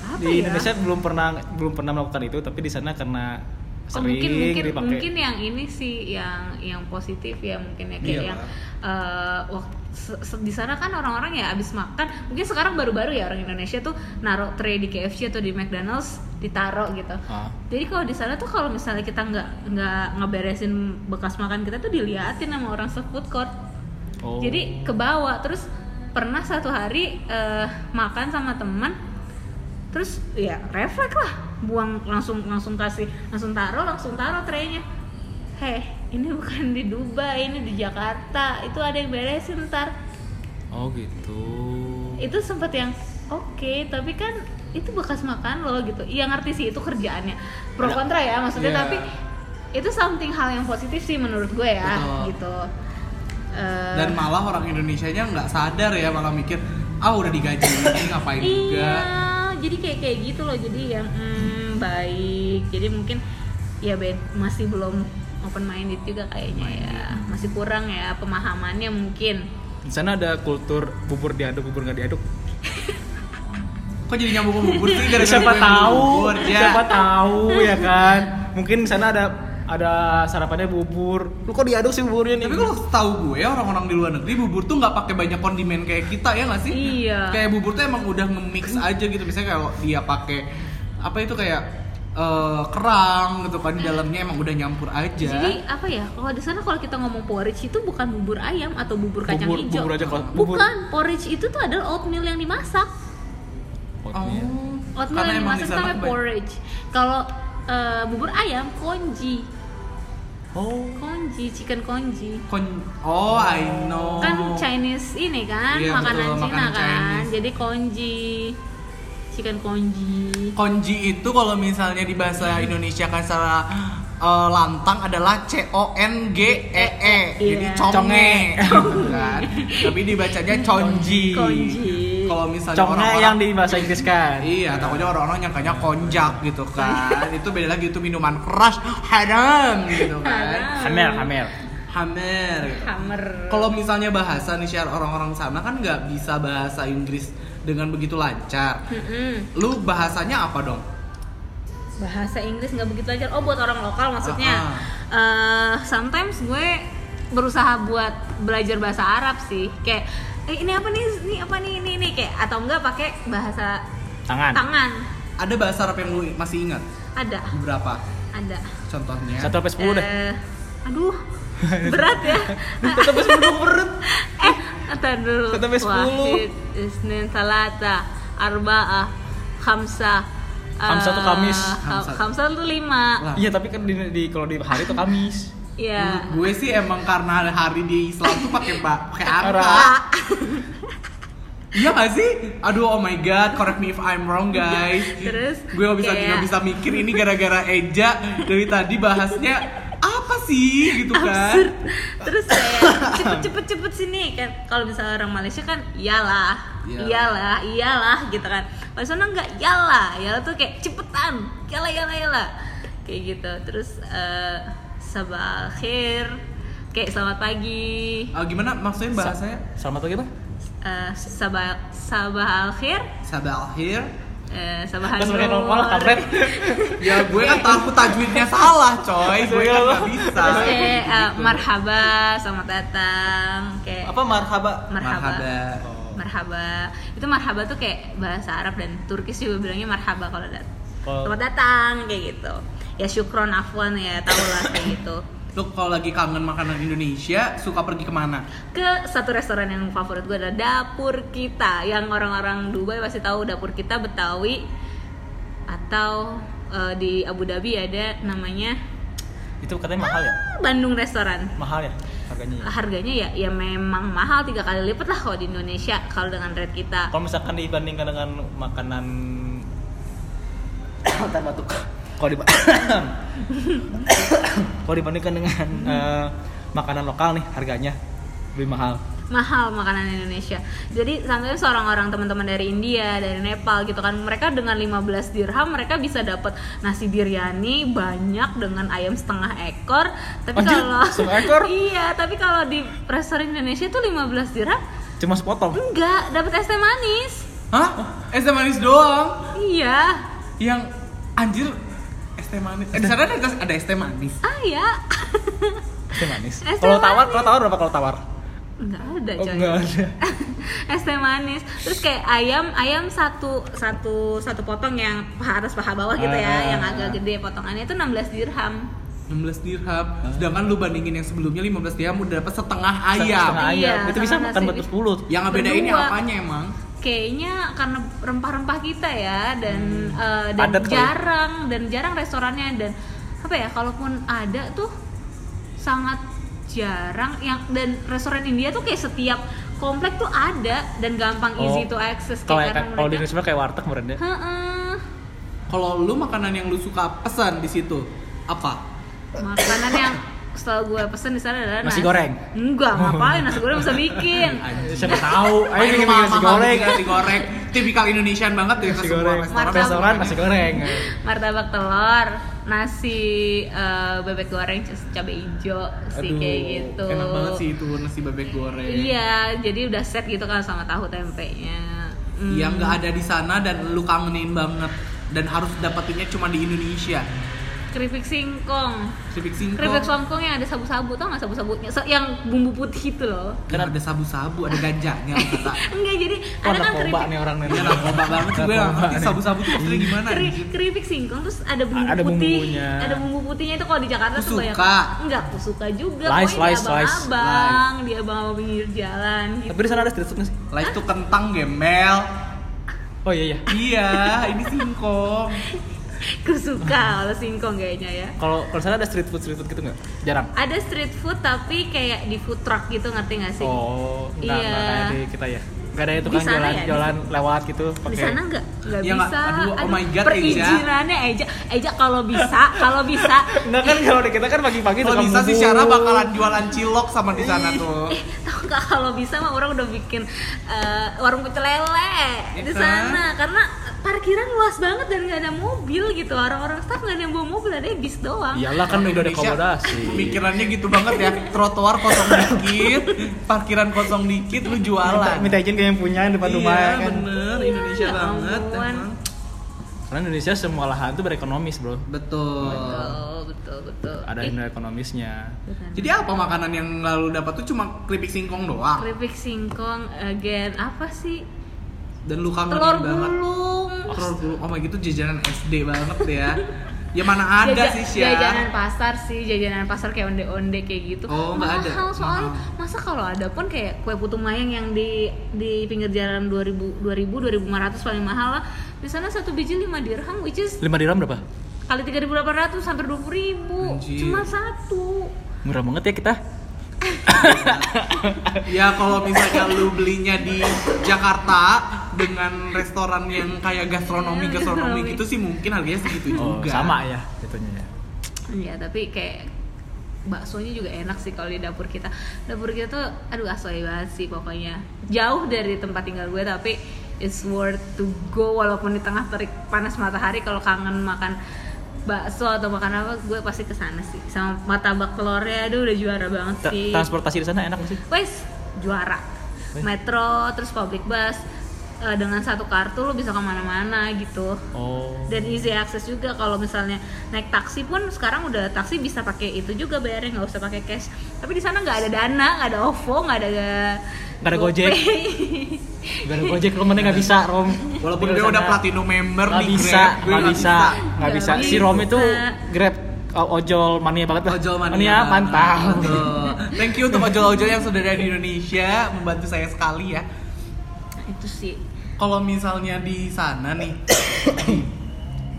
Speaker 3: apa
Speaker 1: Di
Speaker 3: ya?
Speaker 1: Indonesia belum pernah belum pernah melakukan itu, tapi di sana karena
Speaker 3: Oh,
Speaker 1: sering
Speaker 3: mungkin mungkin
Speaker 1: dipakai.
Speaker 3: mungkin yang ini sih yang yang positif ya mungkin ya kayak
Speaker 2: Iya.
Speaker 3: yang eh, wak- se- se- di sana kan orang-orang ya abis makan mungkin sekarang baru-baru ya orang Indonesia tuh naruh tray di KFC atau di McDonald's ditaro gitu.
Speaker 1: Ah.
Speaker 3: Jadi kalau di sana tuh kalau misalnya kita nggak nggak ngeberesin bekas makan kita tuh diliatin sama orang se food court.
Speaker 1: Oh.
Speaker 3: Jadi ke bawah terus pernah satu hari eh, makan sama teman terus ya refleks lah buang langsung langsung kasih langsung taruh langsung taruh traynya heh ini bukan di Dubai ini di Jakarta itu ada yang beresin ntar
Speaker 1: Oh gitu.
Speaker 3: itu sempet yang oke tapi kan itu bekas makan lo gitu iya ngerti sih itu kerjaannya pro kontra ya maksudnya
Speaker 2: Iya.
Speaker 3: tapi itu something hal yang positif sih menurut gue ya
Speaker 2: Betul.
Speaker 3: gitu Eh,
Speaker 2: Dan malah orang Indonesianya nggak sadar ya malah mikir ah udah digaji ini ngapain juga.
Speaker 3: Iya, jadi kayak kayak gitu loh. Jadi yang mm, baik. Jadi mungkin ya Ben masih belum open minded juga kayaknya ya. Masih kurang ya pemahamannya mungkin.
Speaker 1: Di sana ada kultur bubur diaduk, bubur nggak diaduk.
Speaker 2: Kok jadi nyambung ke bubur sih dari
Speaker 1: siapa
Speaker 2: gue yang
Speaker 1: tahu,
Speaker 2: bubur, ya?
Speaker 1: siapa tahu ya kan. Mungkin di sana ada ada sarapannya bubur. Lu kok diaduk sih buburnya nih?
Speaker 2: Tapi kalau tahu gue orang-orang di luar negeri bubur tuh nggak pakai banyak kondimen kayak kita ya nggak sih?
Speaker 3: Iya.
Speaker 2: Kayak bubur tuh emang udah nge-mix aja gitu. Misalnya kalau dia pakai apa itu kayak eh, kerang gitu kan di dalamnya emang udah nyampur aja.
Speaker 3: Jadi apa ya? Kalau di sana kalau kita ngomong porridge itu bukan bubur ayam atau bubur kacang
Speaker 1: Bubur-
Speaker 3: hijau.
Speaker 1: bubur aja kalau- bubur.
Speaker 3: bukan, porridge itu tuh adalah oatmeal yang dimasak.
Speaker 2: oh,
Speaker 1: Oatmeal.
Speaker 3: Oatmeal
Speaker 2: emang di
Speaker 3: yang dimasak
Speaker 2: sana
Speaker 3: namanya
Speaker 2: kebanyakan-
Speaker 3: porridge. Kalau eh, bubur ayam konji,
Speaker 1: Oh.
Speaker 3: konji, chicken konji.
Speaker 2: kon- Oh, I know.
Speaker 3: kan Chinese ini kan
Speaker 2: Oh. Iya,
Speaker 3: makanan
Speaker 2: betul,
Speaker 3: Cina
Speaker 2: makanan
Speaker 3: kan
Speaker 2: Chinese.
Speaker 3: jadi konji chicken konji
Speaker 2: Konji itu kalau misalnya di bahasa Indonesia kan secara eh, lantang adalah C O N G E E. Jadi
Speaker 3: Iya.
Speaker 2: conge. gitu kan. Tapi dibacanya conji.
Speaker 3: Konji.
Speaker 2: Kalau misalnya
Speaker 1: Congnya
Speaker 2: orang-orang
Speaker 1: yang di bahasa Inggris kan.
Speaker 2: Iya, takutnya orang-orang nyangkanya konjak gitu kan. itu beda lagi itu minuman keras haram gitu kan.
Speaker 1: Hamel, hamel.
Speaker 2: Hamer gitu.
Speaker 3: hammer
Speaker 2: Kalau misalnya bahasa nih share orang-orang sana kan nggak bisa bahasa Inggris dengan begitu lancar.
Speaker 3: Mm-mm.
Speaker 2: Lu bahasanya apa dong?
Speaker 3: bahasa Inggris nggak begitu lancar oh buat orang lokal maksudnya
Speaker 2: Ah,
Speaker 3: Eh, sometimes gue berusaha buat belajar bahasa Arab sih kayak eh, ini apa nih ini apa nih ini ini kayak atau enggak pakai bahasa
Speaker 1: Tangan.
Speaker 3: tangan
Speaker 2: Ada bahasa Arab yang lu masih ingat?
Speaker 3: ada
Speaker 2: Berapa?
Speaker 3: ada
Speaker 2: Contohnya.
Speaker 1: Satu sampai sepuluh deh.
Speaker 3: Eh, aduh berat ya
Speaker 1: Satu sampai sepuluh perut.
Speaker 3: eh ntar dulu
Speaker 1: Kata sampai 10.
Speaker 3: Wahid, Isnin Salata Arba'ah Khamsah eh,
Speaker 1: Khamsah tuh Kamis.
Speaker 3: Kham-
Speaker 2: Khamsah.
Speaker 3: Khamsah tuh lima
Speaker 2: Lah,
Speaker 1: Iya, tapi kan di, di- kalau di hari itu Kamis.
Speaker 3: Iya
Speaker 2: Gue sih emang karena ada hari di Islam tuh pakai ba- pakai angka.
Speaker 3: Ah,
Speaker 1: Ora.
Speaker 2: Iya gak sih? Aduh oh my god, correct me if I'm wrong guys.
Speaker 3: Terus,
Speaker 2: gue nggak bisa
Speaker 3: kayak-
Speaker 2: nggak bisa mikir ini gara-gara Eja dari tadi bahasnya apa apa sih gitu kan
Speaker 3: absurd terus kayak cepet cepet cepet sini kan kalau misalnya orang Malaysia kan iyalah
Speaker 2: Iyalah.
Speaker 3: iyalah iyalah gitu kan kalau di sana enggak iyalah iyalah tuh kayak cepetan iyalah iyalah iyalah kayak gitu terus eh sabah akhir kayak selamat pagi
Speaker 2: Ah, gimana maksudnya bahasanya
Speaker 1: Selamat pagi, Pak.
Speaker 3: eh sabah sabah akhir
Speaker 2: sabah akhir
Speaker 3: eh sabah
Speaker 1: Terus pakai nongol kampret.
Speaker 2: ya gue kan takut tajwidnya salah coy gue kan nggak bisa
Speaker 3: terus kayak eh, marhaba selamat datang kayak
Speaker 1: Apa marhaba?
Speaker 3: marhaba. marhaba itu marhaba tuh kayak bahasa Arab dan Turkis juga bilangnya marhaba kalau dat
Speaker 1: Kalau-
Speaker 3: selamat datang kayak gitu ya syukron afwan ya tau lah kayak gitu
Speaker 2: Lu kalau lagi kangen makanan Indonesia, suka pergi kemana?
Speaker 3: ke satu restoran yang favorit gue adalah dapur kita yang orang-orang Dubai pasti tahu dapur kita Betawi atau eh, di Abu Dhabi ada namanya
Speaker 1: Itu katanya mahal ya?
Speaker 3: Bandung restoran
Speaker 1: Mahal ya harganya. ya?
Speaker 3: harganya ya ya memang mahal tiga kali lipat lah kalau di Indonesia kalau dengan rate kita
Speaker 1: Kalau misalkan dibandingkan dengan makanan Ntar batuk. Kalau diba- Kalau dibandingkan dengan eh, makanan lokal nih harganya lebih mahal.
Speaker 3: mahal makanan Indonesia. Jadi sampai seorang orang teman-teman dari India, dari Nepal gitu kan, mereka dengan 15 dirham mereka bisa dapat nasi biryani banyak dengan ayam setengah ekor. Tapi
Speaker 1: Anjir,
Speaker 3: kalau
Speaker 1: setengah ekor?
Speaker 3: Iya, tapi kalau di restoran Indonesia itu 15 dirham
Speaker 1: Cuma sepotong.
Speaker 3: enggak dapat es teh manis.
Speaker 2: Hah? Es teh manis doang.
Speaker 3: Iya.
Speaker 2: Yang anjir es teh manis. Eh, di sana ada, ada es teh manis.
Speaker 3: Ah ya.
Speaker 1: Es teh manis.
Speaker 3: Es teh
Speaker 1: Kalau tawar, kalau tawar berapa kalau tawar?
Speaker 3: Enggak ada,
Speaker 1: Oh,
Speaker 3: coy.
Speaker 1: enggak ada.
Speaker 3: es teh manis terus kayak ayam ayam satu satu satu potong yang paha atas paha bawah gitu ya
Speaker 1: Ah.
Speaker 3: yang agak gede potongannya itu 16 dirham
Speaker 2: 16 dirham. Sedangkan lu bandingin yang sebelumnya 15 dirham udah dapat setengah ayam. Ya.
Speaker 1: Setengah
Speaker 3: Iya,
Speaker 1: ayam. Itu bisa
Speaker 3: sama
Speaker 1: makan
Speaker 3: nasi.
Speaker 1: buat 10.
Speaker 2: Yang ngebedainnya
Speaker 3: Berdua.
Speaker 2: apanya emang?
Speaker 3: kayaknya karena rempah-rempah kita ya dan eh, dan
Speaker 1: Hmm. Padat kali.
Speaker 3: jarang dan jarang restorannya dan apa ya kalaupun ada tuh sangat jarang yang dan restoran India tuh kayak setiap komplek tuh ada dan gampang
Speaker 1: Oh.
Speaker 3: easy to access
Speaker 1: Kalau
Speaker 3: kayak
Speaker 1: kalau di
Speaker 3: karena mereka
Speaker 1: Indonesia kayak warteg meren ya.
Speaker 3: Heeh.
Speaker 2: Kalau lu makanan yang lu suka pesan di situ apa?
Speaker 3: makanan yang selalu gue pesen di sana adalah
Speaker 1: Nasi goreng?
Speaker 3: enggak ngapain nasi goreng bisa bikin
Speaker 1: Siapa tahu? Ayo bikin
Speaker 2: mama,
Speaker 1: nasi
Speaker 2: mama,
Speaker 1: goreng.
Speaker 2: bikin nasi goreng. Tipikal Indonesian banget tuh ya ke
Speaker 1: Nasi
Speaker 2: semua
Speaker 1: goreng.
Speaker 2: restoran.
Speaker 1: Restoran nasi goreng.
Speaker 3: martabak telur nasi eh, bebek goreng terus cabai hijau sih
Speaker 1: Aduh,
Speaker 3: kayak gitu
Speaker 2: Enak banget sih itu nasi bebek goreng.
Speaker 3: iya jadi udah set gitu kan sama tahu tempenya Hmm.
Speaker 2: yang nggak ada di sana dan lu kangenin banget dan harus dapetinnya cuma di Indonesia
Speaker 3: keripik singkong
Speaker 2: keripik singkong
Speaker 3: keripik singkong yang ada sabu-sabu tau nggak sabu-sabunya Se- yang bumbu putih itu loh
Speaker 2: Yang ada sabu-sabu ada ganjanya lu kata
Speaker 3: enggak jadi
Speaker 1: Wah,
Speaker 3: ada kan
Speaker 1: narkoba
Speaker 3: keripik
Speaker 1: nih orang nih.
Speaker 2: Iya narkoba banget sih gue nggak
Speaker 1: Narkoba
Speaker 2: ngerti
Speaker 1: nih.
Speaker 2: sabu-sabu tuh maksudnya gimana
Speaker 3: Keri-
Speaker 2: anjir?
Speaker 3: keripik singkong terus ada bumbu
Speaker 1: Ada
Speaker 3: putih
Speaker 1: bumbunya.
Speaker 3: ada bumbu putihnya itu kalau di Jakarta tuh banyak
Speaker 2: Kusuka.
Speaker 3: enggak kusuka juga
Speaker 1: Lies,
Speaker 3: pokoknya
Speaker 1: lies,
Speaker 3: di
Speaker 1: lies.
Speaker 3: abang-abang di abang-abang pinggir jalan gitu
Speaker 1: Tapi di sana ada street food nggak sih?
Speaker 2: lah itu kentang gemel
Speaker 1: Oh iya iya.
Speaker 2: iya ini singkong
Speaker 3: kusuka kalau singkong kayaknya ya
Speaker 1: Kalau kalau di sana ada street food street food gitu nggak? Jarang.
Speaker 3: ada street food tapi kayak di food truck gitu ngerti nggak sih
Speaker 1: Oh, enggak,
Speaker 3: Iya.
Speaker 1: enggak kayak di kita ya. Enggak ada itu
Speaker 3: Di
Speaker 1: kan
Speaker 3: sana
Speaker 1: jalan
Speaker 3: ya, di
Speaker 1: jalan lewat gitu
Speaker 3: di
Speaker 1: pakai.
Speaker 3: sana nggak nggak
Speaker 2: Ya nggak,
Speaker 3: bisa
Speaker 2: aduh, oh my God, Eja.
Speaker 3: perizinannya Eja Eja kalau bisa kalau bisa
Speaker 2: Nah,
Speaker 1: Enggak kan kalau di kita kan pagi-pagi
Speaker 2: kalau
Speaker 1: tukang
Speaker 2: bisa sih
Speaker 1: bubur.
Speaker 2: Syara bakalan jualan cilok sama di sana tuh
Speaker 3: Eh, tau nggak kalau bisa mah orang udah bikin eh, warung pecel lele
Speaker 2: Ya
Speaker 3: di
Speaker 2: kan?
Speaker 3: sana karena parkiran luas banget dan nggak ada mobil gitu orang-orang staff nggak ada yang bawa mobil ada bis doang
Speaker 1: Iyalah kan udah ada
Speaker 2: Indonesia
Speaker 1: komodasi.
Speaker 2: Pikirannya gitu banget ya, trotoar kosong dikit, parkiran kosong dikit, lu
Speaker 1: Minta,
Speaker 2: jualan.
Speaker 1: minta izin ke yang punya yang depan rumah ya
Speaker 2: iya,
Speaker 1: kan.
Speaker 2: bener,
Speaker 3: Iya,
Speaker 2: Indonesia
Speaker 3: ya
Speaker 2: banget.
Speaker 3: ampun.
Speaker 2: emang.
Speaker 1: Karena Indonesia semua lahan itu berekonomis, Bro.
Speaker 2: Betul.
Speaker 3: betul betul betul
Speaker 1: Ada
Speaker 3: Eh,
Speaker 1: nilai ekonomisnya.
Speaker 3: benar.
Speaker 2: Jadi apa makanan yang lalu dapat tuh cuma keripik singkong doang
Speaker 3: keripik singkong again apa sih
Speaker 2: dan lu kangenin
Speaker 3: telur
Speaker 2: banget.
Speaker 3: gulung
Speaker 2: Telur gulung. Oh my gitu jajanan SD banget ya. Ya mana ada
Speaker 3: Jaja-
Speaker 2: sih Syah.
Speaker 3: jajanan pasar sih jajanan pasar kayak onde-onde kayak gitu
Speaker 2: Oh, nggak ada.
Speaker 3: mahal soalnya
Speaker 2: Mahal.
Speaker 3: masa kalau ada pun kayak kue putu mayang yang di di pinggir jalan 2000 2000 2500 paling mahal lah di sana satu biji 5 dirham which is
Speaker 1: 5 dirham berapa?
Speaker 3: kali 3800 hampir 20000
Speaker 2: Anjir.
Speaker 3: cuma satu
Speaker 1: Murah banget ya kita.
Speaker 2: Ya kalau misalnya lu belinya di Jakarta dengan restoran yang kayak gastronomi gastronomi gitu sih mungkin harganya segitu
Speaker 1: Oh,
Speaker 2: juga.
Speaker 1: sama ya itunya ya.
Speaker 3: ya tapi Iya, kayak baksonya juga enak sih kalau di dapur kita dapur kita tuh aduh asoy banget sih pokoknya jauh dari tempat tinggal gue tapi it's worth to go walaupun di tengah terik panas matahari kalau kangen makan bakso atau makan apa gue pasti kesana sih sama martabak telurnya aduh udah juara banget
Speaker 1: Ta-
Speaker 3: sih
Speaker 1: transportasi di sana enak nggak sih
Speaker 3: wes juara
Speaker 1: Wih.
Speaker 3: metro terus public bus eh, dengan satu kartu lo bisa kemana-mana gitu
Speaker 1: oh
Speaker 3: dan easy access juga kalau misalnya naik taksi pun sekarang udah taksi bisa pakai itu juga bayarnya nggak usah pakai cash tapi di sana nggak ada dana nggak ada ovo nggak ada
Speaker 1: Nggak ada Gojek.
Speaker 3: GoPay.
Speaker 1: gara gojek lu mana nggak bisa rom
Speaker 2: Walaupun
Speaker 1: Di
Speaker 2: dia
Speaker 1: sana
Speaker 2: udah platinum member
Speaker 1: Iya, nggak
Speaker 2: di
Speaker 1: bisa
Speaker 2: Grab, gue
Speaker 1: nggak bisa nggak
Speaker 3: Nggak
Speaker 1: bisa si
Speaker 3: bisa. ah.
Speaker 1: rom itu grab o- ojol mania banget lah
Speaker 2: Ojol mania.
Speaker 1: ya, mantap
Speaker 2: Betul. Thank you untuk ojol-ojol yang sudah ada di Indonesia membantu saya sekali ya.
Speaker 3: itu sih
Speaker 2: Kalau misalnya di sana nih di,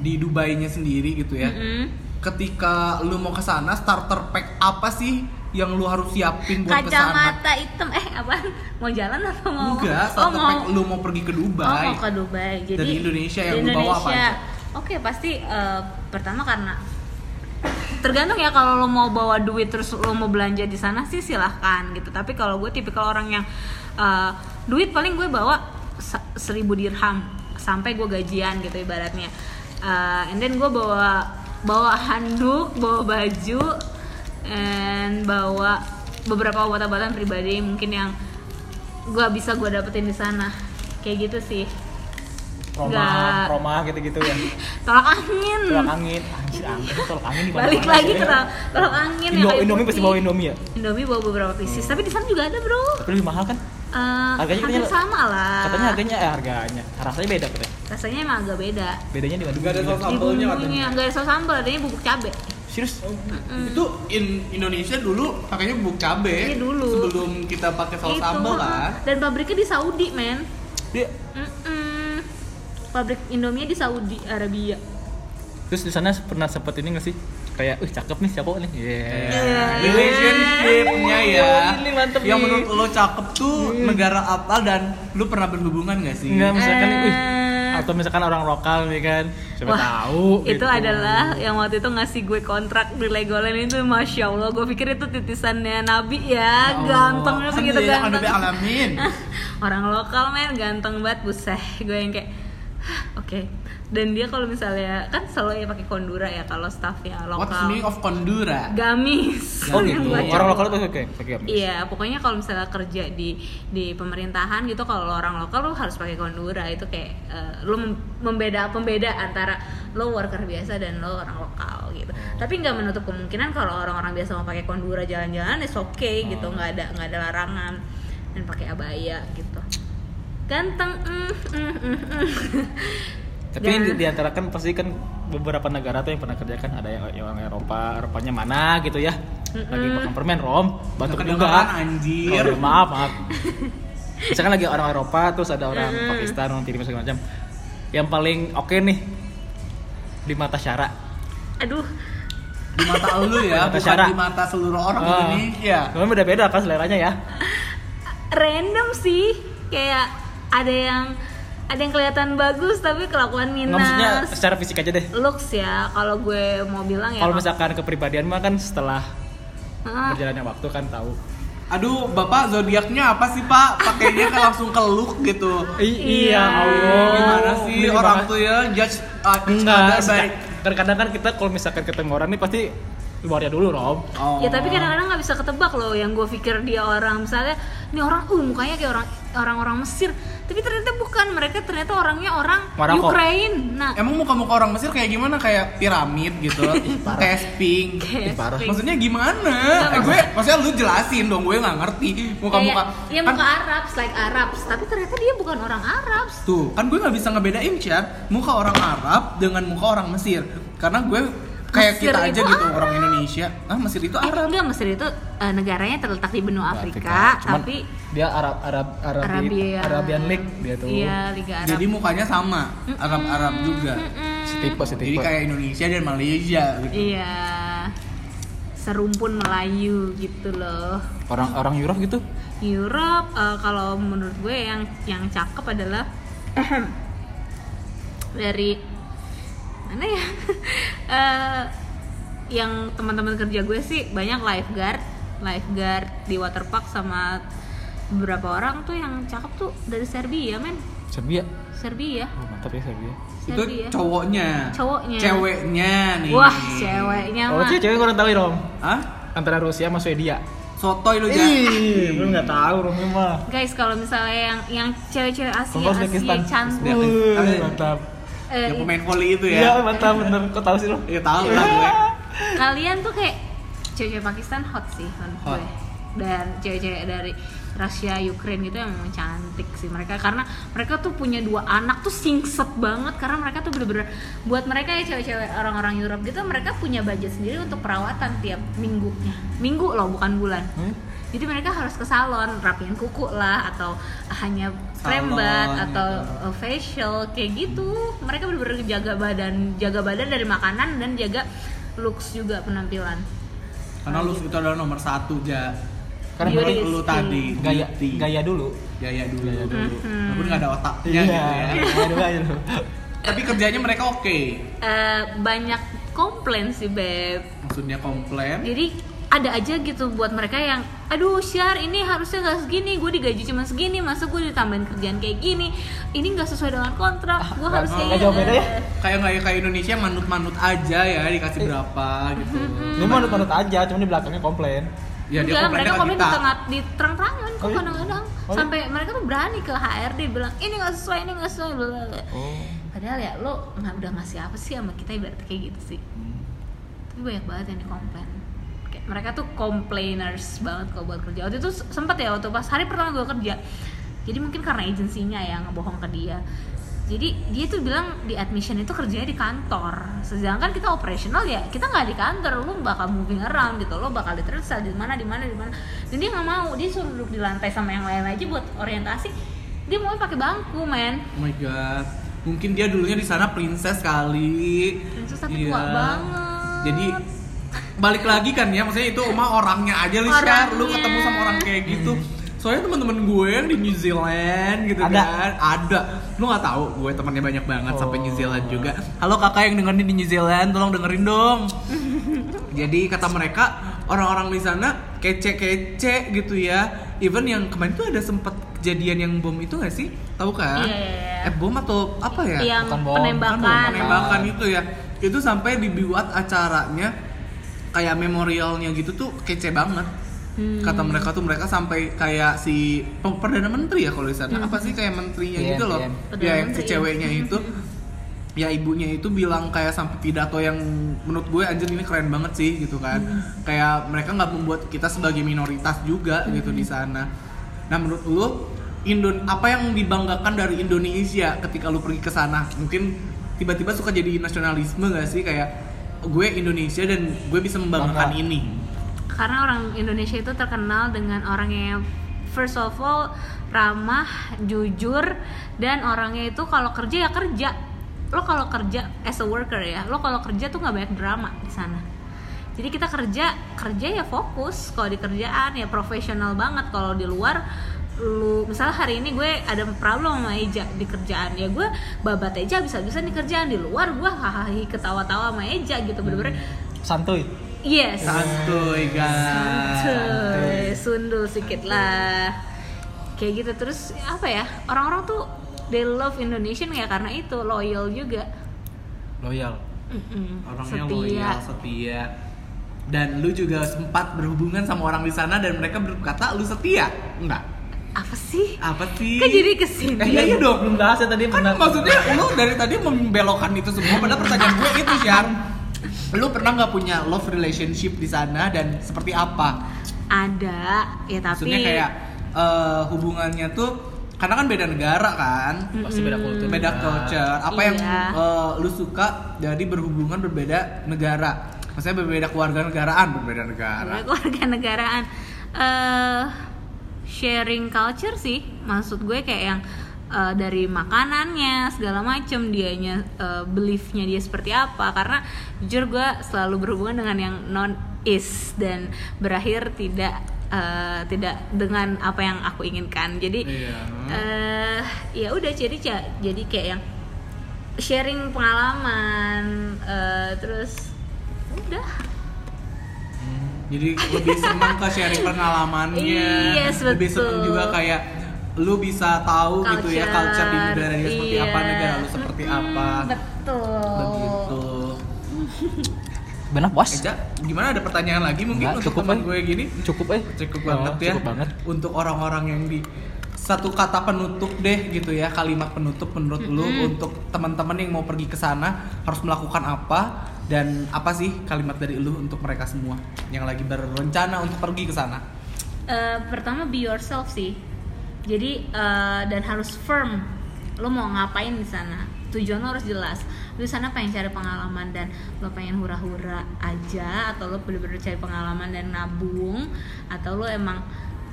Speaker 2: di Dubainya sendiri gitu ya.
Speaker 3: Mm-mm.
Speaker 2: Ketika lu mau ke sana starter pack apa sih yang lu harus siapin buat ke sana?
Speaker 3: kacamata hitam eh apaan mau jalan atau mau
Speaker 2: Enggak,
Speaker 3: oh
Speaker 2: starter
Speaker 3: mau
Speaker 2: pack lu mau pergi ke
Speaker 3: oh
Speaker 2: Dubai.
Speaker 3: mau ke Dubai jadi
Speaker 2: Dari Indonesia yang
Speaker 3: di
Speaker 2: lu bawa apa
Speaker 3: Indonesia.
Speaker 2: aja?
Speaker 3: oke pasti eh, pertama karena tergantung ya kalau lo mau bawa duit terus lo mau belanja di sana sih silahkan gitu tapi kalau gue tipikal orang yang eh, duit paling gue bawa se- seribu dirham sampai gue gajian gitu ibaratnya Eh, and then gue bawa bawa handuk bawa baju and bawa beberapa obat-obatan pribadi mungkin yang gue bisa gue dapetin di sana kayak gitu sih
Speaker 1: Roma
Speaker 3: Nggak.
Speaker 1: Roma gitu gitu ya
Speaker 3: tolak angin
Speaker 1: tolak angin anjir angin tolak angin di
Speaker 3: balik
Speaker 1: mana-mana
Speaker 3: lagi
Speaker 1: sih,
Speaker 3: ke
Speaker 1: ya.
Speaker 3: tol- tolak angin
Speaker 1: Indo
Speaker 3: kayu
Speaker 1: Indomie pasti
Speaker 3: putih.
Speaker 1: bawa Indomie ya
Speaker 3: Indomie bawa beberapa pieces tapi di sana juga ada bro
Speaker 1: tapi lebih mahal kan
Speaker 3: Eh,
Speaker 1: Harganya
Speaker 3: hampir
Speaker 1: katanya-
Speaker 3: sama lah
Speaker 1: katanya harganya eh harganya rasanya beda katanya
Speaker 3: rasanya emang agak beda
Speaker 1: bedanya di mana
Speaker 2: Nggak ada
Speaker 1: Gila.
Speaker 2: saus
Speaker 3: di
Speaker 2: Sambalnya
Speaker 3: bumbunya nggak ada saus sambal adanya bubuk cabe
Speaker 1: serius
Speaker 2: Itu in Indonesia dulu pakainya bubuk cabe.
Speaker 3: Mm. Iya, dulu.
Speaker 2: Sebelum kita pakai saus sambal kan.
Speaker 3: Gitu. dan pabriknya di Saudi men
Speaker 1: dia
Speaker 3: Mm-mm. pabrik Indomie di Saudi Arabia
Speaker 1: terus di sana pernah sempet ini nggak sih kayak uh cakep nih siapa nih Iya. yeah.
Speaker 3: Iya.
Speaker 2: relationship-nya ya.
Speaker 1: Ini mantep
Speaker 2: yang
Speaker 1: nih.
Speaker 2: menurut lo cakep tuh
Speaker 3: Iya.
Speaker 2: negara apa dan lu pernah berhubungan gak sih?
Speaker 1: Enggak misalkan
Speaker 3: Eh.
Speaker 1: "Wih," atau misalkan orang lokal nih kan. Siapa
Speaker 3: Wah,
Speaker 1: tahu
Speaker 3: itu
Speaker 1: gitu.
Speaker 3: adalah yang waktu itu ngasih gue kontrak di Legoland itu masya Allah gue pikir itu titisannya Nabi ya
Speaker 2: Kan
Speaker 3: gantengnya segitu
Speaker 2: ganteng.
Speaker 3: ganteng
Speaker 2: alamin.
Speaker 3: orang lokal men ganteng banget buset gue yang kayak "Hah, oke dan dia kalau misalnya kan selalu ya pakai kondura ya kalau staffnya
Speaker 2: What's
Speaker 3: lokal
Speaker 2: meaning of kondura?
Speaker 3: gamis
Speaker 1: Oh,
Speaker 2: Gamis.
Speaker 1: gitu.
Speaker 2: Baca.
Speaker 1: Orang lokal tuh oke, oke. oke.
Speaker 3: Iya, pokoknya kalau misalnya kerja di di pemerintahan gitu kalau lo orang lokal lo harus pakai kondura itu kayak eh, lo mem- membeda pembeda antara lo worker biasa dan lo orang lokal gitu.
Speaker 1: Oh.
Speaker 3: Tapi nggak menutup kemungkinan kalau orang-orang biasa mau pakai kondura jalan-jalan it's okay gitu,
Speaker 1: Oh.
Speaker 3: nggak ada nggak ada larangan dan pakai abaya gitu. Ganteng. mm, mm, mm, mm.
Speaker 1: Tapi
Speaker 3: Dan-
Speaker 1: di, di antara kan pasti kan beberapa negara tuh yang pernah kerja kan ada yang, yang orang Eropa, Eropanya mana gitu ya. Lagi makan permen Rom, batuk
Speaker 2: Kedengeran,
Speaker 1: juga.
Speaker 2: anjir.
Speaker 1: Oh, maaf, maaf. Misalkan lagi orang Eropa, terus ada orang Pakistan, orang Timur segala macam. Yang paling oke nih di mata syara.
Speaker 3: Aduh,
Speaker 2: Di mata lu ya,
Speaker 1: iya. Mata
Speaker 2: bukan
Speaker 1: Sarah.
Speaker 2: di mata seluruh orang
Speaker 1: Ah.
Speaker 2: Indonesia.
Speaker 1: Cuman beda-beda kan seleranya ya.
Speaker 3: random sih kayak ada yang ada yang kelihatan bagus tapi kelakuan minus.
Speaker 1: Nggak maksudnya secara fisik aja deh.
Speaker 3: looks ya kalau gue mau bilang ya
Speaker 1: Kalau misalkan kepribadian mah kan setelah
Speaker 3: Ah,
Speaker 1: berjalannya waktu kan tahu.
Speaker 2: Aduh, Bapak zodiaknya apa sih, Pak? Pakainya kan langsung ke look gitu.
Speaker 1: I-
Speaker 3: Iya.
Speaker 1: Allah.
Speaker 2: Gimana sih
Speaker 1: Oh, Ini
Speaker 2: orang
Speaker 1: gimana?
Speaker 2: tuh ya judge uh, each
Speaker 1: enggak
Speaker 2: other by-
Speaker 1: secara- Terkadang kan kita kalau misalkan ketemu orang nih pasti luarnya dulu, Rob.
Speaker 2: Oh.
Speaker 3: ya tapi kadang-kadang nggak bisa ketebak loh yang gue pikir dia orang misalnya ini orang uh mukanya kayak orang orang-orang Mesir tapi ternyata bukan mereka ternyata orangnya orang
Speaker 1: Maroko.
Speaker 3: Ukraine nah
Speaker 2: Emang muka-muka orang Mesir kayak gimana? Kayak piramid gitu, testing.
Speaker 1: Iya,
Speaker 3: Kayak Ih, parah. sphinx.
Speaker 2: Maksudnya gimana? Eh, gue, maksudnya lu jelasin dong, gue nggak ngerti muka-muka. Kan
Speaker 3: kayak
Speaker 1: Kan-
Speaker 3: ya muka Arabs like Arabs tapi ternyata dia bukan orang Arabs
Speaker 2: Tuh, kan gue nggak bisa ngebedain Chan muka orang Arab dengan muka orang Mesir, karena gue kayak
Speaker 3: Mesir
Speaker 2: kita aja
Speaker 3: itu
Speaker 2: gitu orang
Speaker 3: Arab.
Speaker 2: Indonesia. Ah, Mesir itu
Speaker 3: Eh,
Speaker 2: Arab.
Speaker 3: enggak Mesir itu eh, negaranya terletak di benua Afrika,
Speaker 1: Afrika. Cuman
Speaker 3: tapi
Speaker 1: dia Arab Arab Arabi,
Speaker 3: Arabia
Speaker 1: Arabian League dia tuh.
Speaker 3: iya Liga Arab
Speaker 2: Jadi mukanya sama, Arab-Arab juga.
Speaker 1: Setipe
Speaker 2: Jadi
Speaker 1: setipe.
Speaker 2: kayak Indonesia dan Malaysia gitu.
Speaker 3: iya serumpun Melayu gitu loh
Speaker 1: Orang orang Eropa gitu.
Speaker 3: Europe eh, kalau menurut gue yang yang cakep adalah dari mana ya Eh, yang teman-teman kerja gue sih banyak lifeguard lifeguard di waterpark sama beberapa orang tuh yang cakep tuh dari Serbia men
Speaker 1: Serbia
Speaker 3: Serbia
Speaker 1: oh, mantap ya Serbia
Speaker 2: itu
Speaker 3: Serbia
Speaker 2: cowoknya
Speaker 3: Cowoknya.
Speaker 2: ceweknya nih
Speaker 3: wah ceweknya
Speaker 1: oh
Speaker 3: mah
Speaker 1: cewek cewek kurang tahu dong
Speaker 2: Hah?
Speaker 1: antara Rusia sama Swedia
Speaker 2: sotoy lu jangan
Speaker 1: ih belum nggak tahu Rumi mah
Speaker 3: guys kalau misalnya yang yang cewek-cewek Asia
Speaker 1: Kongkos
Speaker 3: Asia
Speaker 1: Uzbekistan.
Speaker 3: cantik
Speaker 2: Uzbek.
Speaker 1: Wuh, mantap
Speaker 3: eh,
Speaker 2: yang
Speaker 3: itu-
Speaker 2: pemain volley Iya, itu
Speaker 1: iya
Speaker 2: ya
Speaker 1: mantap bener kok tahu sih lo
Speaker 2: ya tahu lah
Speaker 3: Iya.
Speaker 2: gue
Speaker 3: kalian tuh kayak cewek-cewek Pakistan hot sih menurut
Speaker 2: Hot.
Speaker 3: gue dan cewek-cewek dari Rusia, Ukraine gitu yang memang cantik sih mereka karena mereka tuh punya dua anak tuh singset banget karena mereka tuh bener-bener buat mereka ya cewek-cewek orang-orang Europe gitu mereka punya budget sendiri untuk perawatan tiap minggunya minggu loh bukan bulan
Speaker 1: Hmm?
Speaker 3: jadi mereka harus ke salon rapiin kuku lah atau hanya rembat
Speaker 2: Salon,
Speaker 3: atau
Speaker 2: gitu.
Speaker 3: eh, facial kayak gitu mereka bener-bener jaga badan jaga badan dari makanan dan jaga looks juga penampilan
Speaker 2: karena lu itu adalah nomor satu ja
Speaker 1: Karena
Speaker 2: Menurut
Speaker 3: beauty
Speaker 2: lu
Speaker 3: is
Speaker 2: tadi
Speaker 3: king.
Speaker 1: gaya
Speaker 2: beauty.
Speaker 1: gaya dulu
Speaker 2: gaya dulu
Speaker 1: Gaya
Speaker 3: dulu. Mhm.
Speaker 2: walaupun nggak ada otaknya
Speaker 1: iya
Speaker 2: gitu ya
Speaker 1: gaya dulu aja dulu
Speaker 2: tapi kerjanya mereka oke
Speaker 3: Eh, banyak komplain sih beb
Speaker 2: maksudnya komplain
Speaker 3: jadi ada aja gitu buat mereka yang aduh share ini harusnya nggak segini gue digaji cuma segini masa gue ditambahin kerjaan kayak gini ini nggak sesuai dengan kontrak gue harus
Speaker 1: nggak-
Speaker 3: kayak
Speaker 1: nggak jauh beda ya?
Speaker 2: kayak nggak kayak Indonesia manut-manut aja ya dikasih berapa gitu
Speaker 1: ini manut-manut aja cuma di belakangnya komplain
Speaker 2: ya dia
Speaker 3: Hmm. Enggak, mereka
Speaker 2: komplainnya ke
Speaker 3: komen di
Speaker 2: kita
Speaker 3: tengah di terang-terangan kok
Speaker 1: Oh iya?
Speaker 3: kadang-kadang
Speaker 1: Oh iya?
Speaker 3: sampai mereka tuh berani ke HRD bilang ini nggak sesuai ini nggak sesuai bla, bla, bla.
Speaker 1: oh
Speaker 3: padahal ya lo nggak udah ngasih apa sih sama kita ibaratnya kayak gitu sih tapi banyak banget yang dikomplain kayak mereka tuh complainers banget kalau buat kerja waktu itu sempet ya waktu pas hari pertama gue kerja jadi mungkin karena agensinya yang ngebohong ke dia jadi dia tuh bilang di admission itu kerjanya di kantor sedangkan kita operational ya kita nggak di kantor lu bakal moving around gitu lo bakal diteruskan di mana di mana di mana dan dia nggak mau dia suruh duduk di lantai sama yang lain aja buat orientasi dia mau pakai bangku men
Speaker 2: oh my god mungkin dia dulunya di sana princess kali
Speaker 3: Princess tapi
Speaker 2: Iya.
Speaker 3: tua banget.
Speaker 2: jadi balik lagi kan ya maksudnya itu emang orangnya aja lu share lu
Speaker 3: Orangnya.
Speaker 2: ketemu sama orang kayak gitu soalnya teman-teman gue yang di New Zealand gitu
Speaker 1: Ada.
Speaker 2: kan ada lu nggak tahu gue temannya banyak banget sampai
Speaker 1: Oh.
Speaker 2: New Zealand juga halo kakak yang dengerin di New Zealand tolong dengerin dong jadi kata mereka orang-orang di sana kece-kece gitu ya even yang kemarin tuh ada sempat kejadian yang bom itu gak sih tahu kan
Speaker 3: Iya, iya, iya. kan.
Speaker 2: eh bom atau apa ya
Speaker 3: yang
Speaker 1: bukan bohong.
Speaker 3: penembakan,
Speaker 2: Bukan bom, penembakan itu ya itu sampai dibuat acaranya kayak memorialnya gitu tuh kece banget
Speaker 3: Hmm.
Speaker 2: kata mereka tuh mereka sampai kayak si pe- perdana menteri ya kalau di sana apa sih kayak menterinya
Speaker 1: Iya,
Speaker 2: gitu loh
Speaker 1: iya.
Speaker 3: Perdana
Speaker 2: ya yang si
Speaker 3: menteri.
Speaker 2: ceweknya itu ya ibunya itu bilang kayak sampai pidato yang menurut gue anjir ini keren banget sih gitu kan kayak mereka nggak membuat kita sebagai minoritas juga gitu di sana nah menurut lu Indon apa yang dibanggakan dari Indonesia ketika lu pergi ke sana mungkin tiba-tiba suka jadi nasionalisme gak sih kayak gue Indonesia dan gue bisa membanggakan
Speaker 1: Bangga.
Speaker 2: ini
Speaker 3: karena orang Indonesia itu terkenal dengan orang yang first of all ramah, jujur dan orangnya itu kalau kerja ya kerja. Lo kalau kerja as a worker ya, lo kalau kerja tuh nggak banyak drama di sana. Jadi kita kerja kerja ya fokus kalau di kerjaan ya profesional banget kalau di luar lu misalnya hari ini gue ada problem sama Eja di kerjaan ya gue babat Eja bisa-bisa di kerjaan di luar gue hahaha ketawa-tawa sama Eja gitu bener-bener
Speaker 1: Hmm. santuy
Speaker 3: yes
Speaker 2: santuy guys
Speaker 3: Santuy, sundul sedikit lah. Kayak gitu terus apa ya? Orang-orang tuh they love Indonesian ya karena itu loyal juga.
Speaker 1: loyal
Speaker 3: Mm-mm,
Speaker 2: orangnya loyal setia dan lu juga sempat berhubungan sama orang di sana dan mereka berkata lu setia enggak
Speaker 3: Apa sih?
Speaker 2: apa sih
Speaker 3: Kan jadi kesini.
Speaker 2: Eh, iya, iya dong.
Speaker 1: belum bahas ya tadi
Speaker 2: kan
Speaker 1: pernah-
Speaker 2: maksudnya lu dari tadi membelokkan itu semua padahal pertanyaan gue itu Syar lu pernah nggak punya love relationship di sana dan seperti apa
Speaker 3: Ada ya tapi
Speaker 2: maksudnya kayak eh, hubungannya tuh karena kan beda negara kan
Speaker 1: pasti beda kultur
Speaker 2: beda culture apa yang
Speaker 3: Iya.
Speaker 2: eh, lu suka dari berhubungan berbeda negara maksudnya berbeda keluarga negaraan berbeda negara
Speaker 3: keluarga negaraan eh sharing culture sih maksud gue kayak yang eh, dari makanannya segala macem dianya eh, beliefnya dia seperti apa karena jujur gue selalu berhubungan dengan yang non is dan berakhir tidak eh, tidak dengan apa yang aku inginkan jadi
Speaker 2: Iya.
Speaker 3: eh ya udah jadi ca- jadi kayak yang sharing pengalaman eh, terus udah
Speaker 2: Jadi lebih senang ke sharing pengalamannya.
Speaker 3: Yes,
Speaker 2: Lebih
Speaker 3: Iya, betul.
Speaker 2: senang juga kayak lu bisa tahu gitu ya culture di
Speaker 3: Culture,
Speaker 2: negara dia seperti
Speaker 3: iya.
Speaker 2: apa, negara lu seperti
Speaker 3: Mm-mm,
Speaker 2: apa.
Speaker 3: Betul.
Speaker 2: Begitu.
Speaker 1: Benar puas?
Speaker 2: Eja, gimana ada pertanyaan lagi mungkin
Speaker 1: Nggak,
Speaker 2: untuk
Speaker 1: cukup,
Speaker 2: teman
Speaker 1: Bang.
Speaker 2: gue gini?
Speaker 1: Cukup eh.
Speaker 2: Cukup
Speaker 1: Oh,
Speaker 2: banget ya.
Speaker 1: Cukup banget.
Speaker 2: Untuk orang-orang yang di satu kata penutup deh gitu ya, kalimat penutup menurut lu untuk teman-teman yang mau pergi ke sana harus melakukan apa dan apa sih kalimat dari lu untuk mereka semua yang lagi berencana untuk pergi ke sana?
Speaker 3: Eh, pertama be yourself sih. Jadi eh, dan harus firm. Lo mau ngapain di sana? Tujuan lo harus jelas. Lo di sana pengen cari pengalaman dan lo pengen hura-hura aja atau lo bener-bener cari pengalaman dan nabung atau lo emang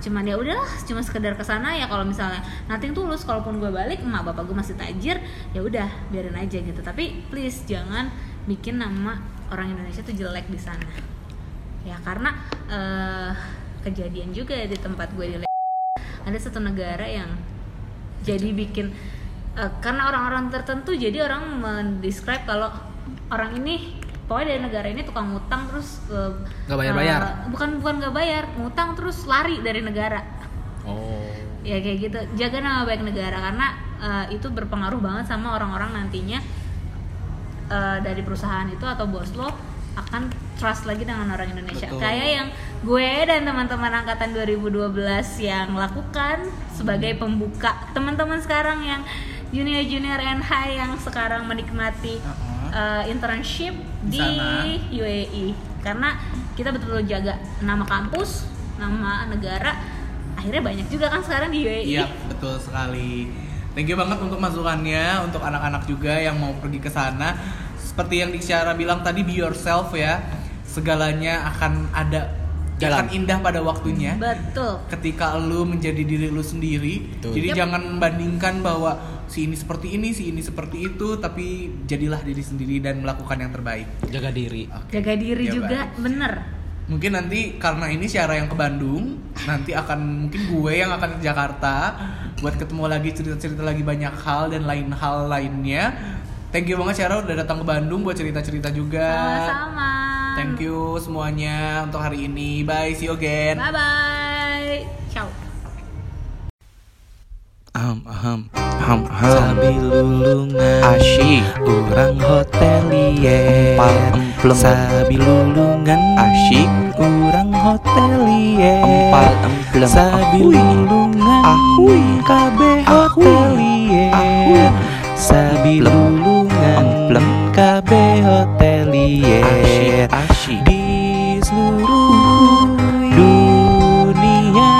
Speaker 3: cuman ya udahlah cuma sekedar kesana ya kalau misalnya nothing tulus kalaupun gue balik emak bapak gue masih tajir ya udah biarin aja gitu tapi please jangan bikin nama orang Indonesia tuh jelek di sana ya karena eh, kejadian juga di tempat gue di Le- ada satu negara yang jadi bikin eh, karena orang-orang tertentu jadi orang mendescribe kalau orang ini pokoknya dari negara ini tukang ngutang terus eh,
Speaker 2: Nggak bayar-bayar?
Speaker 3: eh, bukan bukan nggak bayar ngutang terus lari dari negara
Speaker 2: Oh.
Speaker 3: ya kayak gitu jaga nama baik negara karena eh, itu berpengaruh banget sama orang-orang nantinya eh, dari perusahaan itu atau bos lo akan trust lagi dengan orang Indonesia
Speaker 2: Betul.
Speaker 3: kayak yang gue dan teman-teman angkatan 2012 yang lakukan sebagai pembuka teman-teman sekarang yang junior junior and high yang sekarang menikmati
Speaker 2: Ah.
Speaker 3: eh, internship
Speaker 2: Di
Speaker 3: di,
Speaker 2: sana.
Speaker 3: UAE karena kita betul-betul jaga nama kampus nama negara akhirnya banyak juga kan sekarang di UAE
Speaker 2: Iya, betul sekali. Thank you banget untuk masukannya untuk anak-anak juga yang mau pergi ke sana. Seperti yang Disyara bilang tadi be yourself ya. Segalanya akan ada
Speaker 1: Jalan.
Speaker 2: akan indah pada waktunya.
Speaker 3: betul
Speaker 2: Ketika lu menjadi diri lu sendiri.
Speaker 1: Betul.
Speaker 2: Jadi
Speaker 3: Yap.
Speaker 2: jangan membandingkan bahwa si ini seperti ini, si ini seperti itu, tapi jadilah diri sendiri dan melakukan yang terbaik.
Speaker 1: Jaga diri.
Speaker 3: jaga diri
Speaker 2: Ya,
Speaker 3: juga bener
Speaker 2: Mungkin nanti karena ini Syara yang ke Bandung, nanti akan mungkin gue yang akan ke Jakarta buat ketemu lagi cerita-cerita lagi banyak hal dan lain hal lainnya. Thank you banget Syara udah datang ke Bandung buat cerita-cerita juga.
Speaker 3: sama-sama
Speaker 2: Iya. Thank you semuanya untuk hari ini. Bye, see you again.
Speaker 3: bye bye ciao
Speaker 4: Aham, aham,
Speaker 2: Aham,
Speaker 4: Sabi lulungan
Speaker 2: Asyik.
Speaker 4: Orang hotelier
Speaker 2: Empal, emplem.
Speaker 4: Sabi lulungan
Speaker 2: Asyik.
Speaker 4: Orang hotelier
Speaker 2: Empal, emplem.
Speaker 4: Sabi
Speaker 2: Ahui.
Speaker 4: lulungan
Speaker 2: Ahui.
Speaker 4: KB hotelier
Speaker 2: Ahui.
Speaker 4: Sabi
Speaker 2: Emplem.
Speaker 4: lulungan
Speaker 2: Emplem.
Speaker 4: KB hotelier
Speaker 2: asyik.
Speaker 4: di seluruh dunia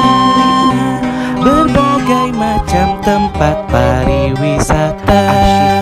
Speaker 4: berbagai macam tempat pariwisata.